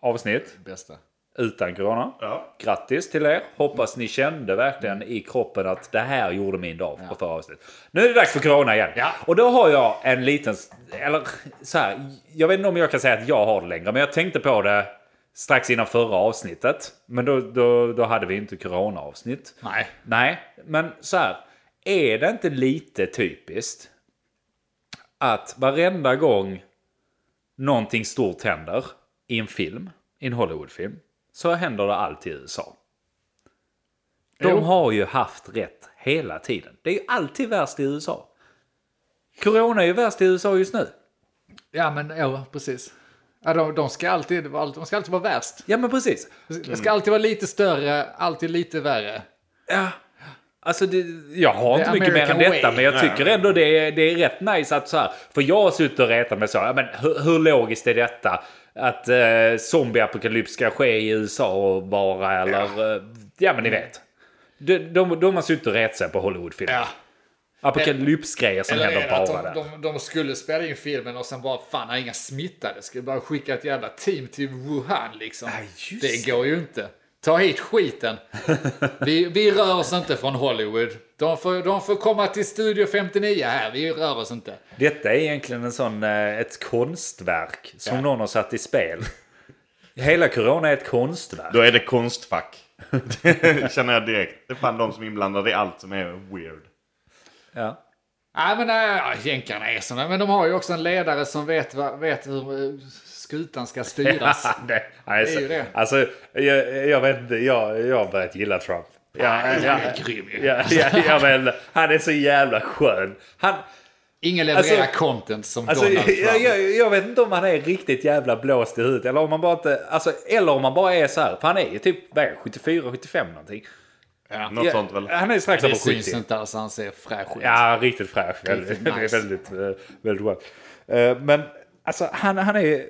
A: avsnitt
B: Bästa.
A: utan corona.
C: Ja.
A: Grattis till er! Hoppas ni kände verkligen i kroppen att det här gjorde min dag på förra avsnittet. Nu är det dags för corona igen.
B: Ja.
A: Och då har jag en liten... Eller så här, jag vet inte om jag kan säga att jag har det längre, men jag tänkte på det strax innan förra avsnittet. Men då, då, då hade vi inte corona-avsnitt.
B: Nej.
A: Nej, men så här. Är det inte lite typiskt att varenda gång någonting stort händer i en film, i en Hollywoodfilm, så händer det alltid i USA. De
B: Jo.
A: har ju haft rätt hela tiden. Det är ju alltid värst i USA. Corona är ju värst i USA just nu.
B: Ja, men ja, precis. Ja, de, de, ska alltid, de ska alltid vara värst.
A: Ja, men precis.
B: Det ska alltid vara lite större, alltid lite värre.
A: Ja. Alltså det, jag har inte mycket mer än
B: American
A: detta,
B: way.
A: men jag tycker ändå det är, det är rätt nice att så här. För jag har suttit och retat mig så. Ja, men hur, hur logiskt är detta? Att eh, zombieapokalyps ska ske i USA bara eller... Ja, eh, ja men ni vet. De, de, de har suttit och retat sig på Hollywoodfilmer.
B: Ja.
A: Apokalypsgrejer som
B: Eller är
A: händer
B: det
A: bara där.
B: att de, de, de skulle spela in filmen och sen bara fan, nej, inga smittade. Skulle bara skicka ett jävla team till Wuhan liksom.
A: just
B: det går ju inte. Ta hit skiten. Vi, vi rör oss inte från Hollywood. De får, de får komma till Studio 59 här. Vi rör oss inte.
A: Detta är egentligen en sån, eh, ett konstverk som
B: Ja.
A: någon har satt i spel. Hela corona är ett konstverk.
C: Då är det konstfack. Det känner jag direkt. Det är fan de som är inblandade i allt som är weird.
A: Ja.
B: Nej, men äh, jänkarna är såna. Men de har ju också en ledare som vet, vad- vet hur eh, skutan ska styras.
A: det, alltså,
B: Det är ju det.
A: Alltså, jag, jag vet inte, jag, jag har börjat gilla Trump. Ja, ja,
B: Han är grym ju.
A: ja, ja, ja, men, han är så jävla skön. Han,
B: Ingen levererar
A: Alltså-
B: content som
A: alltså,
B: Donald Trump.
A: jag, jag, jag vet inte om han är riktigt jävla blåst i huvudet. Eller om, man bara inte, alltså, eller om man bara är så här. För han är ju typ vad är det, 74, 75 någonting.
B: Ja.
C: Något sånt väl?
A: Han är ju strax
B: Det
A: över
B: syns
A: 70.
B: inte alls. Han ser fräsch ut.
A: Ja, riktigt fräsch.
B: Riktigt
A: det är
B: nice.
A: väldigt, eh, väldigt skönt. Eh, Men alltså, han, han, är,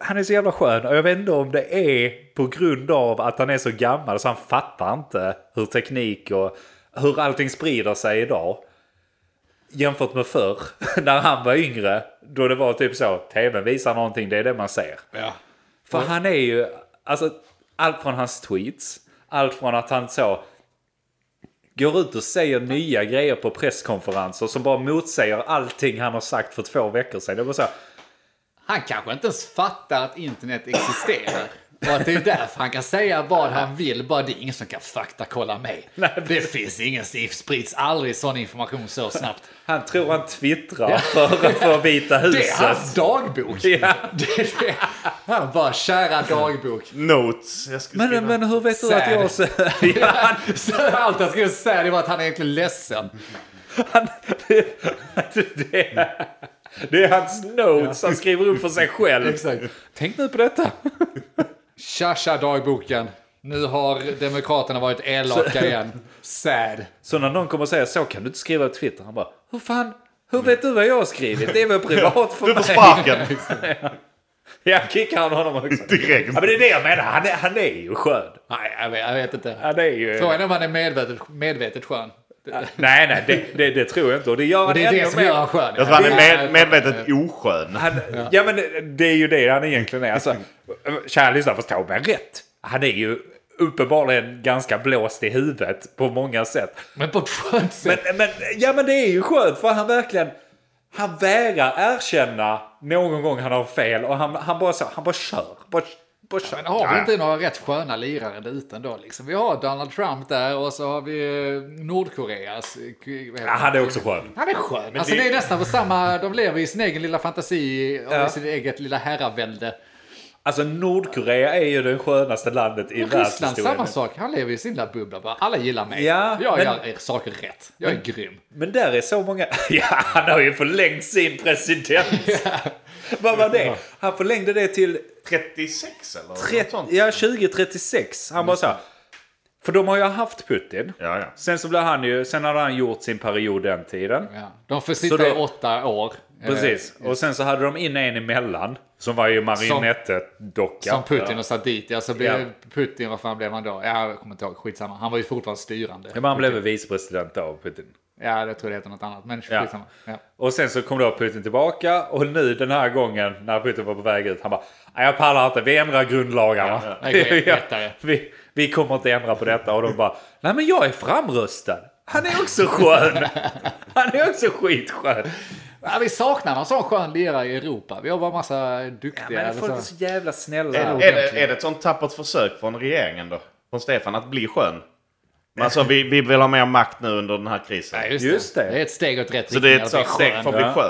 A: han är så jävla skön och jag vet inte om det är på grund av att han är så gammal så han fattar inte hur teknik och hur allting sprider sig idag. Jämfört med förr, när han var yngre, då det var typ så, tvn visar någonting, det är det man ser.
B: Ja.
A: För han är ju, alltså allt från hans tweets, allt från att han så går ut och säger nya grejer på presskonferenser som bara motsäger allting han har sagt för två veckor sedan. Det var så, här,
B: Han kanske inte ens fattar att internet existerar. Och att det är därför han kan säga vad han vill, bara det är ingen som kan faktakolla mig. Det finns ingen, det sprids aldrig sån information så snabbt.
A: han tror han twittrar för, för Vita
B: Det är
A: huset.
B: hans dagbok!
A: Ja.
B: Det är det. Han bara, kära dagbok.
C: Notes. Jag skulle
A: Men,
C: skriva.
A: men hur vet du att jag... Ja, han,
B: Så Allt han skulle säga det var att han är egentligen ledsen.
A: han, det, det, är- det är hans notes han skriver upp för sig själv.
B: Exakt.
A: Tänk nu på detta.
B: Tja, tja dagboken. Nu har Demokraterna varit elaka igen. Sad.
A: Så när någon kommer och säger så kan du inte skriva på Twitter. Han bara, hur fan, hur vet du vad jag har skrivit? Det är väl privat för
C: Du får
A: mig?
C: sparken
A: Jag kickar han honom också.
C: direkt.
A: Ja, men det är det jag menar, han är, han är ju skön.
B: Nej, jag vet, jag vet inte.
A: Han är ju...
B: Frågan är om han är medvetet, medvetet skön.
A: Nej, nej, det, det, det tror jag inte. Och det gör han
B: Och det är
A: ännu
B: det som
A: mer.
B: gör han skön.
C: Jag tror han Alltså, är med, medvetet oskön.
A: Han, ja. men det- det är ju det han egentligen är. Alltså, kära lyssnare, förstå mig rätt. Han är ju uppenbarligen ganska blåst i huvudet på många sätt.
B: Men på ett skönt sätt.
A: Men, men, ja, men det är ju skönt för han verkligen... Han vägrar erkänna någon gång han har fel och han, han bara så, han bara kör. Bara, bara kör.
B: Men har vi inte några rätt sköna lirare där ute ändå? Liksom? Vi har Donald Trump där och så har vi eh, Nordkoreas... eh, k- vad heter
A: Ja, han är också skön.
B: Han är skön. Alltså
C: det-
B: det är nästan på samma... De lever i sin egen lilla fantasi och
A: Ja.
B: i sin eget lilla herravälde.
A: Alltså Nordkorea är ju det skönaste landet i
B: Ryssland, samma
A: världshistorien.
B: sak. Han lever i sin lilla bubbla. Bara, alla gillar mig.
A: Ja,
B: jag
A: men-
B: gör saker rätt. Jag är grym.
A: Men där är så många... Ja, han har ju förlängt sin president. Vad var det? Han förlängde det till
C: 36 eller? något
A: 30,
C: sånt.
A: ja, 2036. Han bara så här. För de har ju haft Putin.
C: Ja, ja.
A: Sen så blev han ju... Sen hade han gjort sin period den tiden.
B: Ja. De får
A: Så
B: sitta
A: då-
B: i åtta år. eh,
A: Precis. Och sen så hade de in en emellan. Som var ju marionettdocka.
B: Som Putin och satt dit. Ja, så blev
A: Ja.
B: Putin, vad fan blev han då? Ja, jag kommer inte ihåg. Skitsamma. Han var ju fortfarande styrande.
A: Ja, men han blev väl vicepresident av Putin.
B: Ja, jag tror det heter något annat. Men
A: Ja.
B: skitsamma. Ja.
A: Och sen så kom då Putin tillbaka och nu den här gången när Putin var på väg ut, han bara "Nej, jag pallar inte, vi ändrar grundlagarna.
B: Ja, det är lättare.
A: vi, vi kommer inte ändra på detta och de bara nej men jag är framröstad. Han är också skön. Han är också skitskön.
B: Ja, vi saknar någon sån skön lirare i Europa. Vi har bara massa duktiga. alltså.
A: Men
B: eller
A: folk är
B: så.
A: så jävla
C: Är,
A: snälla.
C: är, det, är det ett sånt tappert försök från regeringen då? Från Stefan att bli skön? Men alltså vi, vi vill ha mer makt nu under den här krisen.
B: Ja, just,
A: Just
B: det.
A: det.
B: det. är ett steg åt rätt
C: Så det är ett
B: att bli
C: sånt steg
B: skön.
C: för att bli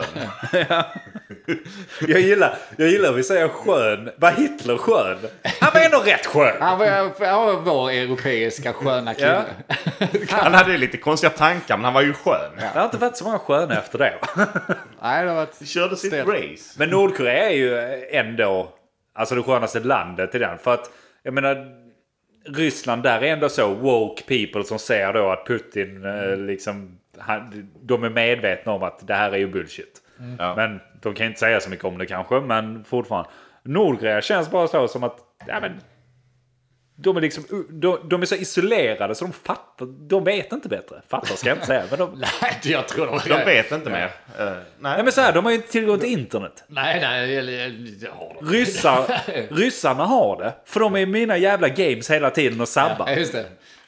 A: Ja.
C: skön.
A: Jag gillar, jag gillar att vi säger skön. Var Hitler skön? Han var ändå rätt skön.
B: Han var, han var vår europeiska sköna
A: Ja.
B: kille.
C: Han hade ju lite konstiga tankar men han var ju skön.
A: Det har inte varit så många sköna efter det.
B: Nej, det har varit...
C: Körde sitt
B: Sten.
C: race.
A: Men Nordkorea är ju ändå alltså det skönaste landet i den. För att jag menar Ryssland där är ändå så woke people som säger då att Putin eh, liksom han, de är medvetna om att det här är ju bullshit.
C: Ja.
A: Men de kan inte säga så mycket om det kanske, men fortfarande. Nordkorea känns bara så som att ja, men, de är, liksom, de, de är så isolerade så de fattar, de vet inte bättre. Fattar ska jag inte säga, men de...
B: Nej, jag tror de...
C: De vet inte mer. Eh,
A: Nej
C: nej.
A: men så här, de har ju inte tillgång till internet.
B: Nej, nej, eller- eller- det har de.
A: Ryssar, ryssarna har det, för de är i mina jävla games hela tiden och sabbar.
B: Ja, just det.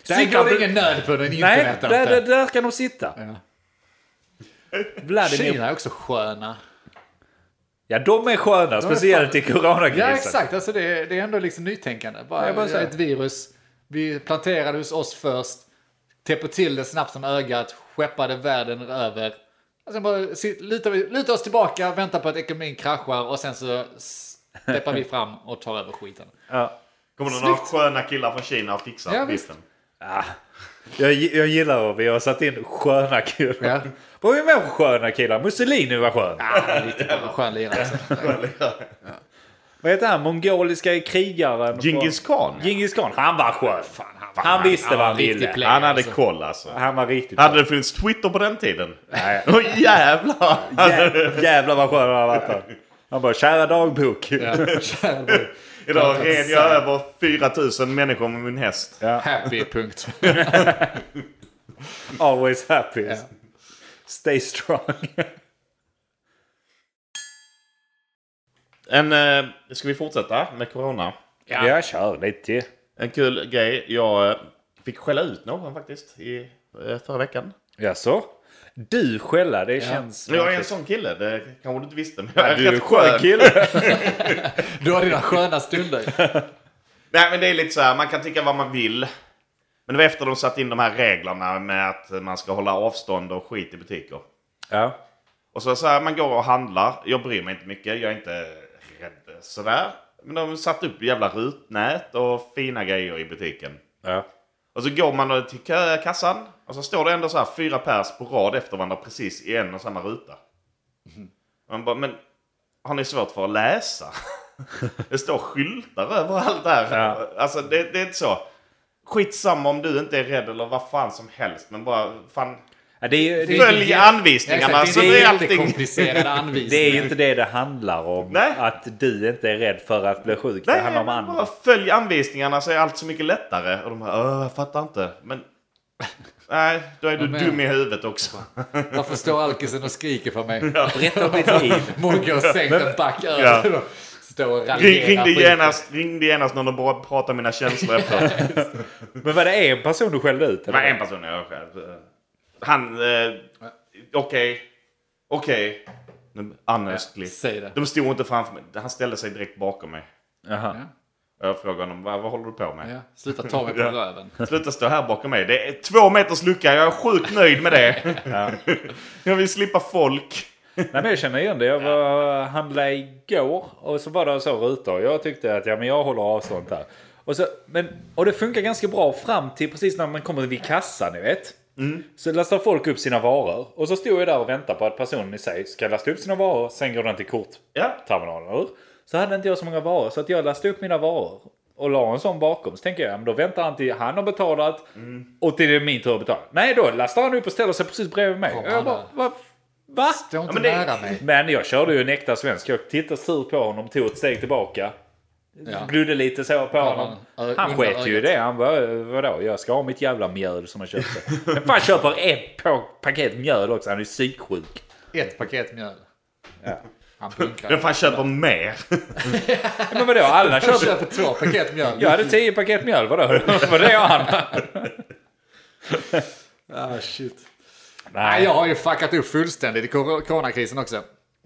B: Där
A: Cyklar
B: går det
A: du-
B: ingen nöd på den
A: Nej,
B: internetappen.
A: där, där, där kan de sitta.
B: Ja.
A: Vladimir.
B: Kina är också sköna.
A: Ja, de är sköna, speciellt i coronakrisen.
B: Ja, exakt. Alltså det, det är ändå liksom nytänkande. Bara,
A: Jag bara säger.
B: ett virus. Vi planterade hos oss först. Täpper till det snabbt som ögat. Skeppade världen över. Och sen bara sit, lutar, vi, lutar oss tillbaka, väntar på att ekonomin kraschar och sen så steppar vi fram och tar över skiten.
A: Ja.
C: Kommer det några
B: Snyggt.
C: sköna killar från Kina och fixar
B: Ja, visst.
C: skiten?
A: Ah, jag, gi- jag gillar att vi har satt in sköna killar.
B: Ja.
A: Vad är vi med för sköna killar? Mussolini var skön.
B: Ah, riktigt bra, skön lirare. alltså.
A: Vad heter han? Mongoliska krigaren?
C: Djingis khan?
A: Genghis Khan. Han var skön.
B: han var-
A: han, visste vad han
B: riktig
A: ville.
B: player,
C: Han hade
B: alltså.
C: koll alltså.
A: Han var riktigt
C: Hade det funnits Twitter på den tiden?
A: Nej.
C: Åh jävlar! Alltså,
A: Jä- Jävlar vad skön han har varit. där. Han bara, kära dagbok.
C: idag red jag över 4000 människor med min häst.
B: Happy, punkt.
A: Always happy.
B: Ja.
A: Stay strong.
C: En, eh, ska vi fortsätta med corona?
A: Ja. Jag kör lite till.
C: En kul grej. Jag eh, fick skälla ut någon faktiskt i eh, förra veckan.
A: Jaså? Du skälla, det känns...
C: Jag är en sån kille. Det kanske du inte visste. Men jag är
A: Du är en
C: rätt
A: skön kille.
B: Du har dina sköna stunder.
C: Nej, men det är lite så här. Man kan tycka vad man vill. Men det var efter de satt in de här reglerna med att man ska hålla avstånd och skit i butiker.
A: Ja.
C: Och så, så här, man går och handlar. Jag bryr mig inte mycket. Jag är inte rädd sådär. Men de satte upp jävla rutnät och fina grejer i butiken.
A: ja.
C: Och så går man till kö- kassan och så står det ändå så här fyra pers på rad efter varandra precis i en och samma ruta. Man bara, men har ni svårt för att läsa? det står skyltar överallt där.
A: Ja.
C: Alltså det, det är inte så. Skitsamma om du inte är rädd eller vad fan som helst. Men bara fan,
A: Ja, Det är, det,
B: inte
C: följ
B: jätte-
C: anvisningarna
B: Exakt,
C: så
B: det
C: det är
B: är inte
C: allting...
B: komplicerade
A: det är ju
B: anvisningar.
A: inte det det handlar om.
C: Nej.
A: Att du inte är rädd för att bli sjuk. det
C: Nej,
A: handlar om
C: men
A: andra.
C: bara följ anvisningarna så är allt så mycket lättare. Och de bara, "Åh, jag fattar inte. Men nej, då är du
B: men-
C: dum i huvudet också.
B: Varför står alkisen och skriker för mig?
A: Berätta om ditt liv.
B: Mogge och sänkt en back över.
C: Ja.
B: Står och
C: Ring,
B: raljerar.
C: ringde,
B: skiten.
C: genast, ringde genast någon och bara pratade om mina känslor efteråt.
A: Men var det en person du skällde ut?
C: Det
A: eller?
C: var en person jag själv. Han... eh, Okej. Okej. Nu- Honestly.
B: Säg det.
C: De stod inte framför mig. Han ställde sig direkt bakom mig.
A: Jaha.
B: Ja.
C: Och Jag frågade honom, vad, vad håller du på med?
B: Ja. Sluta ta mig på
C: Ja.
B: röven.
C: Sluta stå här bakom mig. Det är två meters lucka, jag är sjukt nöjd med det. Jag vill slippa folk.
A: Nej, men jag känner igen det. Jag var handlade igår och så var det så rutor. Jag tyckte att ja, men jag håller avstånd här. Och, så, men, och det funkar ganska bra fram till precis när man kommer vid kassan, ni vet.
B: Mm.
A: Så lastar folk upp sina varor. Och så stod jag där och väntade på att personen i sig ska lasta upp sina varor. Sen går den till kort
C: Ja.
A: terminalen. eller hur? Så hade inte jag så många varor så att jag lastade upp mina varor och la en sån bakom. Så tänker jag, ja, men då väntar han till han har betalat
B: Mm.
A: och till det är min tur att betala. Nej, då lastar han upp och ställer sig precis bredvid mig.
B: Kom,
A: Och jag
B: han
A: bara,
B: där.
A: va? va?
B: Stå inte
C: men det-
B: nära mig.
A: Men jag körde ju en äkta svensk. Jag tittade sur på honom, tog ett steg tillbaka.
B: Ja.
A: Bludde lite så på honom.
B: man, ö-
A: Han
B: under
A: sket ju i
B: ögat.
A: det. Han bara, "Eh, vadå, jag ska ha mitt jävla mjöl som jag köpte. Men fan köper ett på- paket mjöl också. Han är ju psyksjuk.
B: Ett paket mjöl.
A: Ja.
B: Han
C: Vem
B: punkar.
C: fan köper mer?
A: Men vadå, alla
B: Jag
A: köper
B: köper två paket mjöl.
A: Jag hade tio paket mjöl, vadå? Var det han?
B: Ah, shit. Nej, jag har ju fuckat upp fullständigt i cor- coronakrisen också.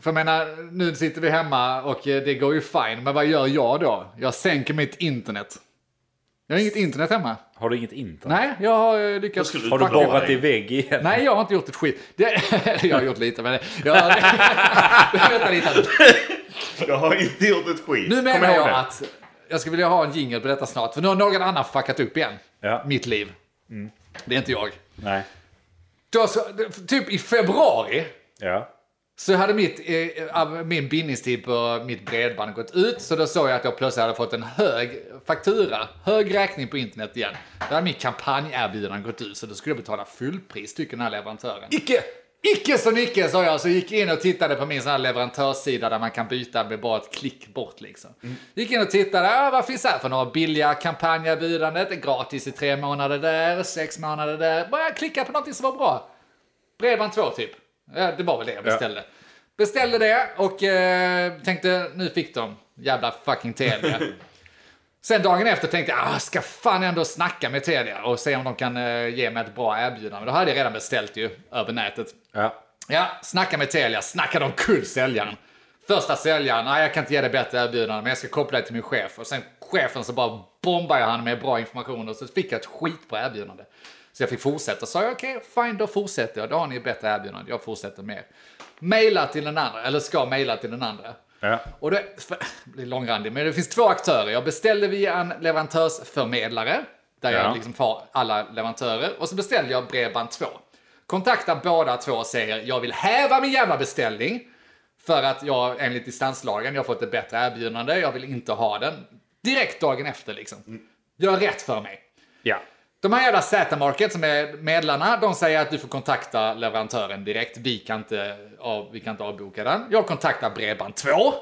B: För jag menar, nu sitter vi hemma och eh, det går ju fine. Men vad gör jag då? Jag sänker mitt internet. Jag har inget internet hemma.
A: Har du inget internet?
B: Nej, jag har eh,
C: Då
B: lyckats...
C: skulle
A: Har du
C: fucka upp
A: borrat
C: dig.
A: i vägg igen?
B: Nej, jag har inte gjort ett skit. Det... jag har gjort lite, men... Jag... Vänta lite.
C: Jag har inte gjort ett skit.
B: Nu
C: Kom
B: menar
C: ihåg
B: jag
C: det.
B: att jag skulle vilja ha en jingle på detta snart, för nu har någon annan fuckat upp igen.
A: Ja.
B: Mitt liv.
C: Mm.
B: Det är inte jag.
A: Nej.
B: Då, så, typ i februari
A: Ja.
B: så hade mitt, eh, av min bindningstid på mitt bredband gått ut, så då såg jag att jag plötsligt hade fått en hög faktura, hög räkning på internet igen. Då hade min kampanjerbjudande gått ut, så då skulle jag betala fullpris, tycker den här leverantören.
A: Icke!
B: Icke som icke sa jag, så gick jag in och tittade på min sån här leverantörssida där man kan byta med bara ett klick bort liksom. Gick in och tittade, ah, vad finns här för några billiga kampanjerbjudandet? Gratis i tre månader där, sex månader där. Bara klicka på någonting som var bra. Bredband 2 typ. Ja, det var väl det jag beställde. Beställde det och eh, tänkte, nu fick de. Jävla fucking Telia. Sen dagen efter tänkte jag, ah, ska fan ändå snacka med Telia och se om de kan eh, ge mig ett bra erbjudande. Då hade jag redan beställt ju över nätet.
A: Ja.
B: Ja, snacka med Telia, snackade omkull säljaren. Första säljaren, nej jag kan inte ge dig bättre erbjudande men jag ska koppla dig till min chef. Och sen chefen så bara bombade jag han med bra information och så fick jag ett skitbra erbjudande. Så jag fick fortsätta, sa jag okej, fine då fortsätter jag, då har ni ett bättre erbjudande, jag fortsätter med. er." Maila till den andra, eller ska mejla till den andra.
A: Ja.
B: Och det, för, det blir långrandig, men det finns två aktörer. Jag beställde via en leverantörsförmedlare, där
A: Ja.
B: jag liksom får alla leverantörer. Och så beställde jag Bredband 2. Kontaktar båda två och säger jag vill häva min jävla beställning. För att jag enligt distanslagen, jag har fått ett bättre erbjudande, jag vill inte ha den. Direkt dagen efter liksom. Gör rätt för mig.
A: Ja.
B: De här jävla Z-market som är medlarna, de säger att du får kontakta leverantören direkt. Vi kan inte, av, vi kan inte avboka den. Jag kontaktar Bredband2.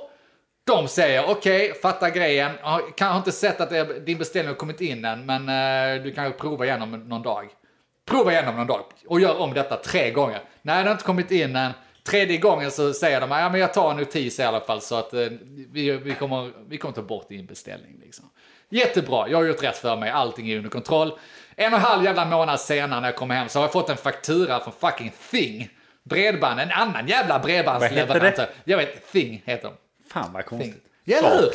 B: De säger okej, fatta grejen. Ja, Kan har inte sett att det- din beställning har kommit in än, men eh, du kan ju prova igen om någon dag. Prova igen om någon dag och gör om detta tre gånger. Nej, det har inte kommit in än. Tredje gången så säger de ja, men jag tar en notis i alla fall så att eh, vi, vi, kommer, vi kommer ta bort din beställning. Liksom. Jättebra, jag har gjort rätt för mig. Allting är under kontroll. En och en halv jävla månad senare när jag kom hem så har jag fått en faktura från fucking Thing. Bredband, en annan jävla
A: Vad heter
B: bredbandsleverantör.
A: det?
B: Jag vet, Thing heter de.
A: Fan vad konstigt.
B: Ja, eller hur?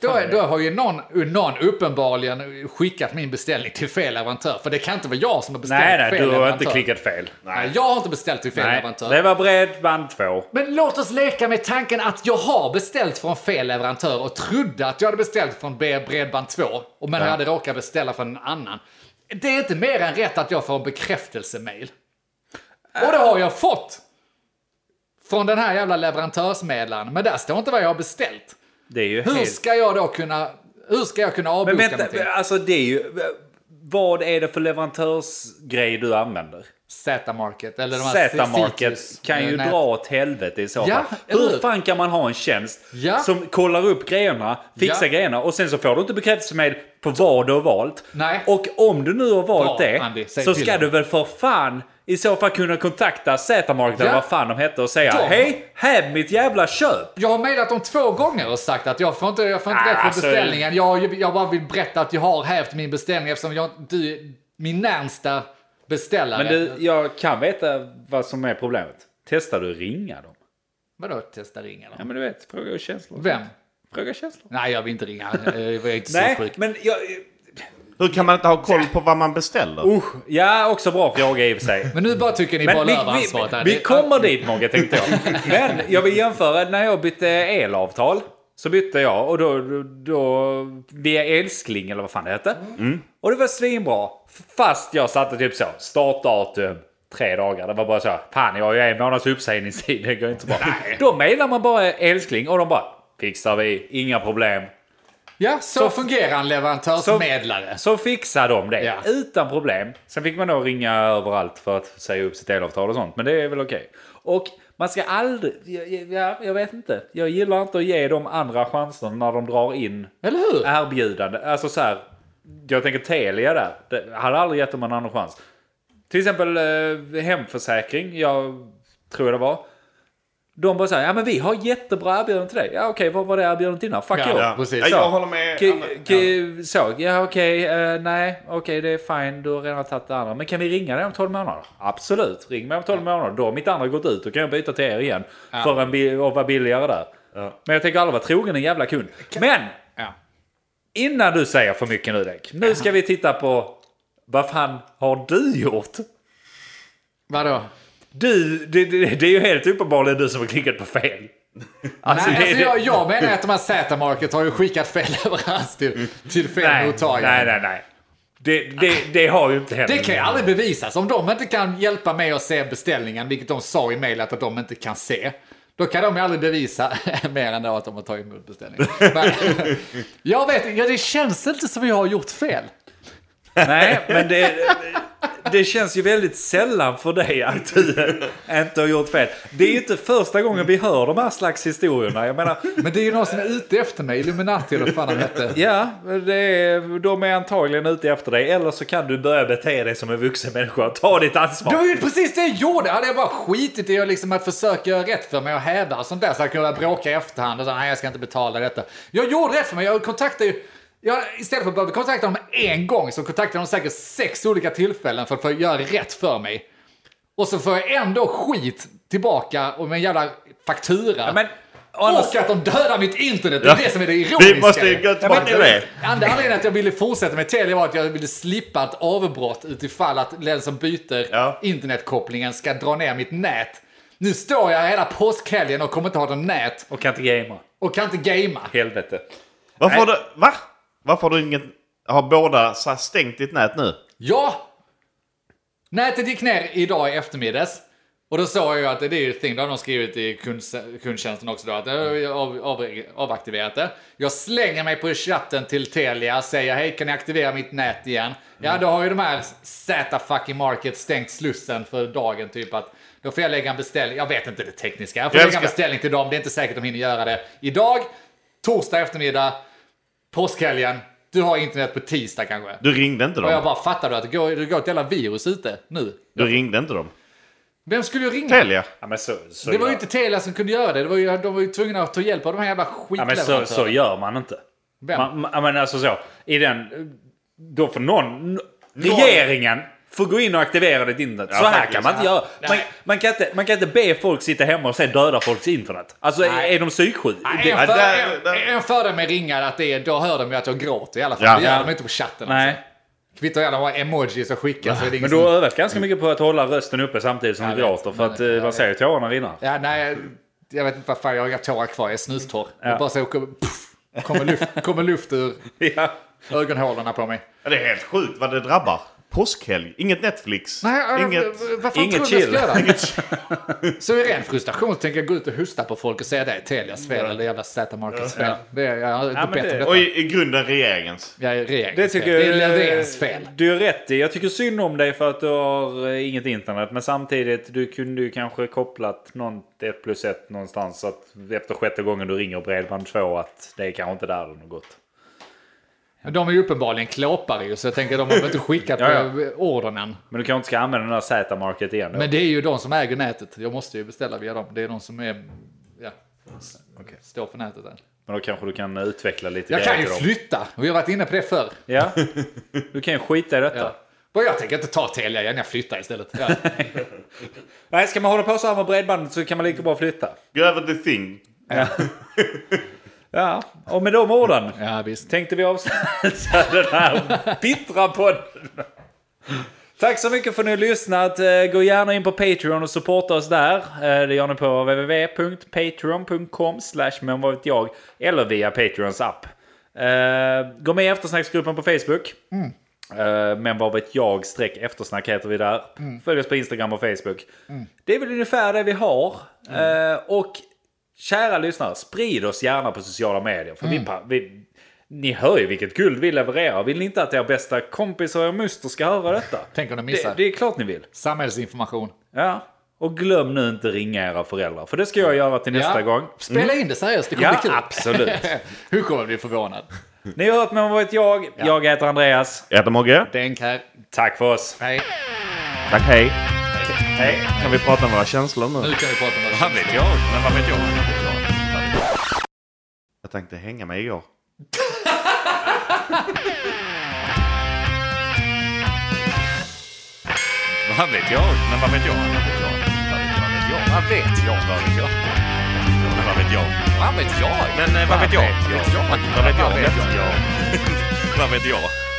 B: Då,
A: är det?
B: då har ju någon, någon uppenbarligen skickat min beställning till fel leverantör. För det kan inte vara jag som har beställt
A: Nej, nej,
B: fel
A: du har
B: leverantör.
A: inte klickat fel.
B: Nej, jag har inte beställt till fel
A: Nej,
B: leverantör.
A: det var bredband 2.
B: Men låt oss leka med tanken att jag har beställt från fel leverantör och trodde att jag hade beställt från B- Bredband 2, och men
A: Ja.
B: hade råkat beställa från en annan. Det är inte mer än rätt att jag får en bekräftelsemail.
A: Äh.
B: Och det har jag fått! Från den här jävla leverantörsmedlaren. Men där står inte vad jag har beställt.
A: Det är ju
B: Hur
A: helt...
B: ska jag då kunna... Hur ska jag kunna avboka
A: Men vänta,
B: någonting?
A: alltså det är ju... Vad är det för leverantörsgrej du använder?
B: Z-market eller de här Citius,
A: Z-market kan ju
B: eh, nät-
A: dra åt helvete i så fall.
B: Ja, eller
A: Hur
B: hur?
A: fan kan man ha en tjänst
B: Ja.
A: som kollar upp grejerna, fixar
B: Ja.
A: grejerna och sen så får du inte bekräftelsemail på vad du har valt.
B: Nej.
A: Och om du nu har valt
B: Bra,
A: det
B: Andy, säg
A: så
B: till
A: ska
B: dem.
A: du väl för fan i så fall kunna kontakta Z-market eller
B: Ja.
A: vad fan de hette och säga
B: De-
A: Hej, häv mitt jävla köp!
B: Jag har mejlat dem två gånger och sagt att jag får inte, jag får inte
A: Ah,
B: rätt på
A: alltså-
B: beställningen. Jag, jag bara vill berätta att jag har hävt min beställning eftersom jag, du, min närmsta beställare...
A: Men du, jag kan veta vad som är problemet. Testar du ringa dem?
B: Vadå testa ringa då?
A: Ja men du vet, fråga känslor.
B: Vem?
A: Fråga känslor.
B: Nej, jag vill inte ringa. Eh, Jag är inte
A: Nej,
B: sinnessjuk.
A: men jag... Oh,
C: Hur kan man inte ha koll på vad man beställer?
A: Usch, ja också bra fråga i och för sig.
B: Men nu bara tycker ni bollar över
A: vi,
B: ansvaret. här.
A: vi, vi
B: Det-
A: kommer dit Mogge tänkte jag. Men jag vill jämföra, när jag bytte elavtal så bytte jag och då, då, då via Elskling eller vad fan det hette. Mm. Och det var svinbra. Fast jag satte typ så, startdatum tre dagar. Det var bara så, fan jag har ju en månads uppsägningstid, det går inte bra. Då mejlar man bara Elskling och de bara, fixar vi, inga problem.
B: Ja, så, fungerar en leverantörsmedlare.
A: Så fixar de det
B: Ja.
A: utan problem. Sen fick man då ringa överallt för att säga upp sitt elavtal och sånt. Men det är väl okej. Och man ska aldrig... ja, Ja, jag vet inte. Jag gillar inte att ge dem andra chanser när de drar in
B: Eller hur?
A: erbjudande. Alltså så här. Jag tänker Telia där. Det- Jag hade aldrig gett dem en annan chans. Till exempel eh, hemförsäkring. Jag tror det var. De bara säger ja men vi har jättebra erbjudanden till dig. Ja okej, vad var det erbjudandet innan? Fuck
B: Ja,
A: you.
C: Ja.
B: precis.
C: Ja,
A: Så.
C: Jag håller med.
A: K-
C: Anna.
A: k- Så, eh, ja okej, eh, nej, okej det är fine, du har redan tagit det andra. Men kan vi ringa dig om 12 månader? Absolut, ring mig om 12 månader. Då har mitt andra gått ut, då kan jag byta till er igen. För en bi- och vara billigare där. Men jag tänker aldrig vara trogen en jävla kund. Men,
B: Ja.
A: innan du säger för mycket nu Dek. Nu ska vi titta på, vad fan har du gjort?
B: Vadå?
A: Du, det, det, det är ju helt uppenbarligen du som har klickat på fel. Alltså,
B: Nej,
A: det-
B: alltså jag, jag menar att de här Z-market har ju skickat fel leverans till, till fel
A: nej,
B: mottagare.
A: nej, nej, nej. Det, det, det har ju inte hänt.
B: Det kan ju aldrig bevisas. Om de inte kan hjälpa mig att se beställningen, vilket de sa i mejlet att de inte kan se, då kan de ju aldrig bevisa mer än då att de har tagit emot beställningen. Men, jag vet inte, ja, det känns inte som jag har gjort fel.
A: Nej, men det, det känns ju väldigt sällan för dig att du inte har gjort fel. Det är ju inte första gången vi hör de här slags historierna. Jag menar,
B: Men det är ju någon som är ute efter mig, Illuminati eller vad fan han hette.
A: ja, det är, de är antagligen ute efter dig. Eller så kan du börja bete dig som en vuxen människa och ta ditt
B: Det var
A: ansvar.
B: ju precis det jag gjorde! Hade jag bara skitit i att liksom att försöka göra rätt för mig och hävda och sånt där så hade jag kunnat bråka i efterhand och säga nej jag ska inte betala detta. Jag gjorde rätt för mig, jag kontaktade ju... Jag, istället för att behöva kontakta dem en gång så kontaktade de säkert sex olika tillfällen för att få göra rätt för mig. Och så får jag ändå skit tillbaka och med en jävla faktura.
A: Men, å andra
B: och att de dödar mitt internet, det
C: Ja.
B: är det som är det ironiska.
C: Vi måste ju gå tillbaka till det.
B: Andra anledningen att jag ville fortsätta med Telia var att jag ville slippa ett avbrott utifall att den som byter
C: Ja.
B: internetkopplingen ska dra ner mitt nät. Nu står jag hela påskhelgen och kommer inte ha något nät
A: Och kan inte gamea.
B: och kan inte gamea.
A: Helvete.
C: Varför har
A: Nej.
C: du... Va? Varför har du ingen... Har båda så här stängt ditt nät nu?
B: Ja! Nätet gick ner idag i eftermiddags. Och då såg jag ju att det är ju ett thing, det har de skrivit i kunds- kundtjänsten också då, att jag har av, av, avaktiverat det. Jag slänger mig på chatten till Telia, säger hej kan ni aktivera mitt nät igen?
C: Mm.
B: Ja då har ju de här Z-fucking Market stängt slussen för dagen typ att då får jag lägga en beställning, jag vet inte det tekniska, jag får
C: Jag
B: lägga en
C: älskar-
B: beställning till dem, det är inte säkert de hinner göra det idag, torsdag eftermiddag, påskhelgen, du har internet på tisdag kanske.
C: Du ringde inte
B: Och jag
C: dem.
B: bara fattar du att det går, det går ett jävla virus ute nu?
C: Du ringde inte dem.
B: Vem skulle jag ringa?
C: Telia.
A: Ja, men så, så
B: Det var ju
A: gör-
B: inte Telia som kunde göra det. det var ju, de var ju tvungna att ta hjälp av de här jävla
A: Ja, men så, så
B: skitleverantörerna.
A: gör man inte.
B: Vem?
A: Man, man, ja, men alltså så. I den... Då får någon... n- Regeringen får gå in och aktivera ditt internet. så här
C: faktiskt.
A: kan man inte göra. Man,
B: Nej.
A: man, kan inte, man kan inte be folk sitta hemma och sen döda folks internet. Alltså
B: Nej.
A: är de psyksjuka?
B: Nej,
A: Det-
B: En för-
C: där-
B: en-
C: där-
B: en fördel med ringar att det är, då hör de ju att jag gråter i alla fall.
C: Ja.
B: Det gör
A: Ja.
B: de inte på chatten.
A: Nej.
B: Alltså. Kvittar gärna vad emojis och skickar. Så är det ingen
A: Men du har
B: som...
A: övat ganska mycket på att hålla rösten uppe samtidigt som
B: Jag
A: du
B: vet,
A: gråter. För
B: men-
A: att
B: jag
A: eh, man
B: vet.
A: ser ju tårarna rinna.
B: Ja, nej, jag vet inte vad fan, jag har inga tårar kvar. Jag är snustorr. Jag bara så kommer, pff, kommer, luft, kommer luft ur
A: Ja.
B: ögonhålorna på mig.
C: Ja, Det är helt sjukt vad det drabbar. Påskhelg. Inget Netflix.
B: Nej, äh,
C: Inget...
B: Inget, vad fan
A: inget
B: tror du
A: chill.
B: jag ska göra? så i ren frustration så tänker jag gå ut och husta på folk och säga det är Telias fel eller jävla Z Markets fel. Det är, jag har inte
A: Ja, men
B: bett
A: det-
B: om detta.
C: Och i, i grunden regeringens.
B: Jag är regeringens
A: Det tycker
B: fel. Det är
A: jag-
B: Löfvens fel.
A: Du är rätt i. Jag tycker synd om dig för att du har eh, inget internet. Men samtidigt, du kunde ju kanske kopplat någon, ett plus ett någonstans. Så att efter sjätte gången du ringer Bredband2 att det är kanske inte där den har gått.
B: Men De är ju uppenbarligen klåpare ju, så jag tänker de har väl inte skickat
A: Ja, ja.
B: på ordern än.
A: Men du kanske inte ska använda den där Z-market igen då?
B: Men det är ju de som äger nätet. Jag måste ju beställa via dem. Det är de som är, ja, står för nätet. Där.
A: Men då kanske du kan eh, utveckla lite
B: Jag kan ju
A: till dem.
B: flytta. Vi har varit inne på det förr.
A: Ja, du kan ju skita i detta.
B: Ja. Bara Jag tänker inte ta Telia igen, jag flyttar istället. Ja.
A: Nej, ska man hålla på så här med bredbandet så kan man lika bra flytta.
C: Gå över till Thing.
A: Ja, och med de orden
B: Ja, visst.
A: tänkte vi avsluta den här bittra podden. Tack så mycket för att ni har lyssnat. Eh, Gå gärna in på Patreon och supporta oss där. Eh, Det gör ni på www.patreon.com slash men vad vet jag eller via Patreons app. Eh, Gå med i eftersnacksgruppen på Facebook. Eh, Men vad vet jag streck eftersnack heter vi där. Följ oss på Instagram och Facebook. Det är väl ungefär det vi har. Eh, Och kära lyssnare, sprid oss gärna på sociala medier. För vi, pa- vi, ni hör ju vilket guld vi levererar. Vill ni inte att er bästa kompis och er muster ska höra detta?
B: Tänk om de missar.
A: Det, det är klart ni vill.
B: Samhällsinformation.
A: Ja. Och glöm nu inte ringa era föräldrar. För det ska jag göra till nästa
B: Ja.
A: gång. Mm.
B: Spela in det seriöst, det kommer
A: Ja,
B: bli kul.
A: absolut.
B: Hur kommer du bli förvånad?
A: Ni har hört mig om vad ett jag. Jag heter Andreas.
C: Jag heter Mogge.
B: Denk här.
A: Tack för oss.
B: Nej,
C: Tack, hej.
A: Hej.
C: Kan vi prata om våra känslor nu?
B: nu kan vi prata om det.
A: Vad vet jag? Men vad vet jag?
C: Jag tänkte hänga mig igår.
A: Vad vet jag? Men vad vet jag? Vad vet jag? Vad vet jag? Men vad vet jag?
B: Vad vet jag?
A: eh, Men vad vet jag? Vad vet jag? Vad vet jag? Vad vet jag?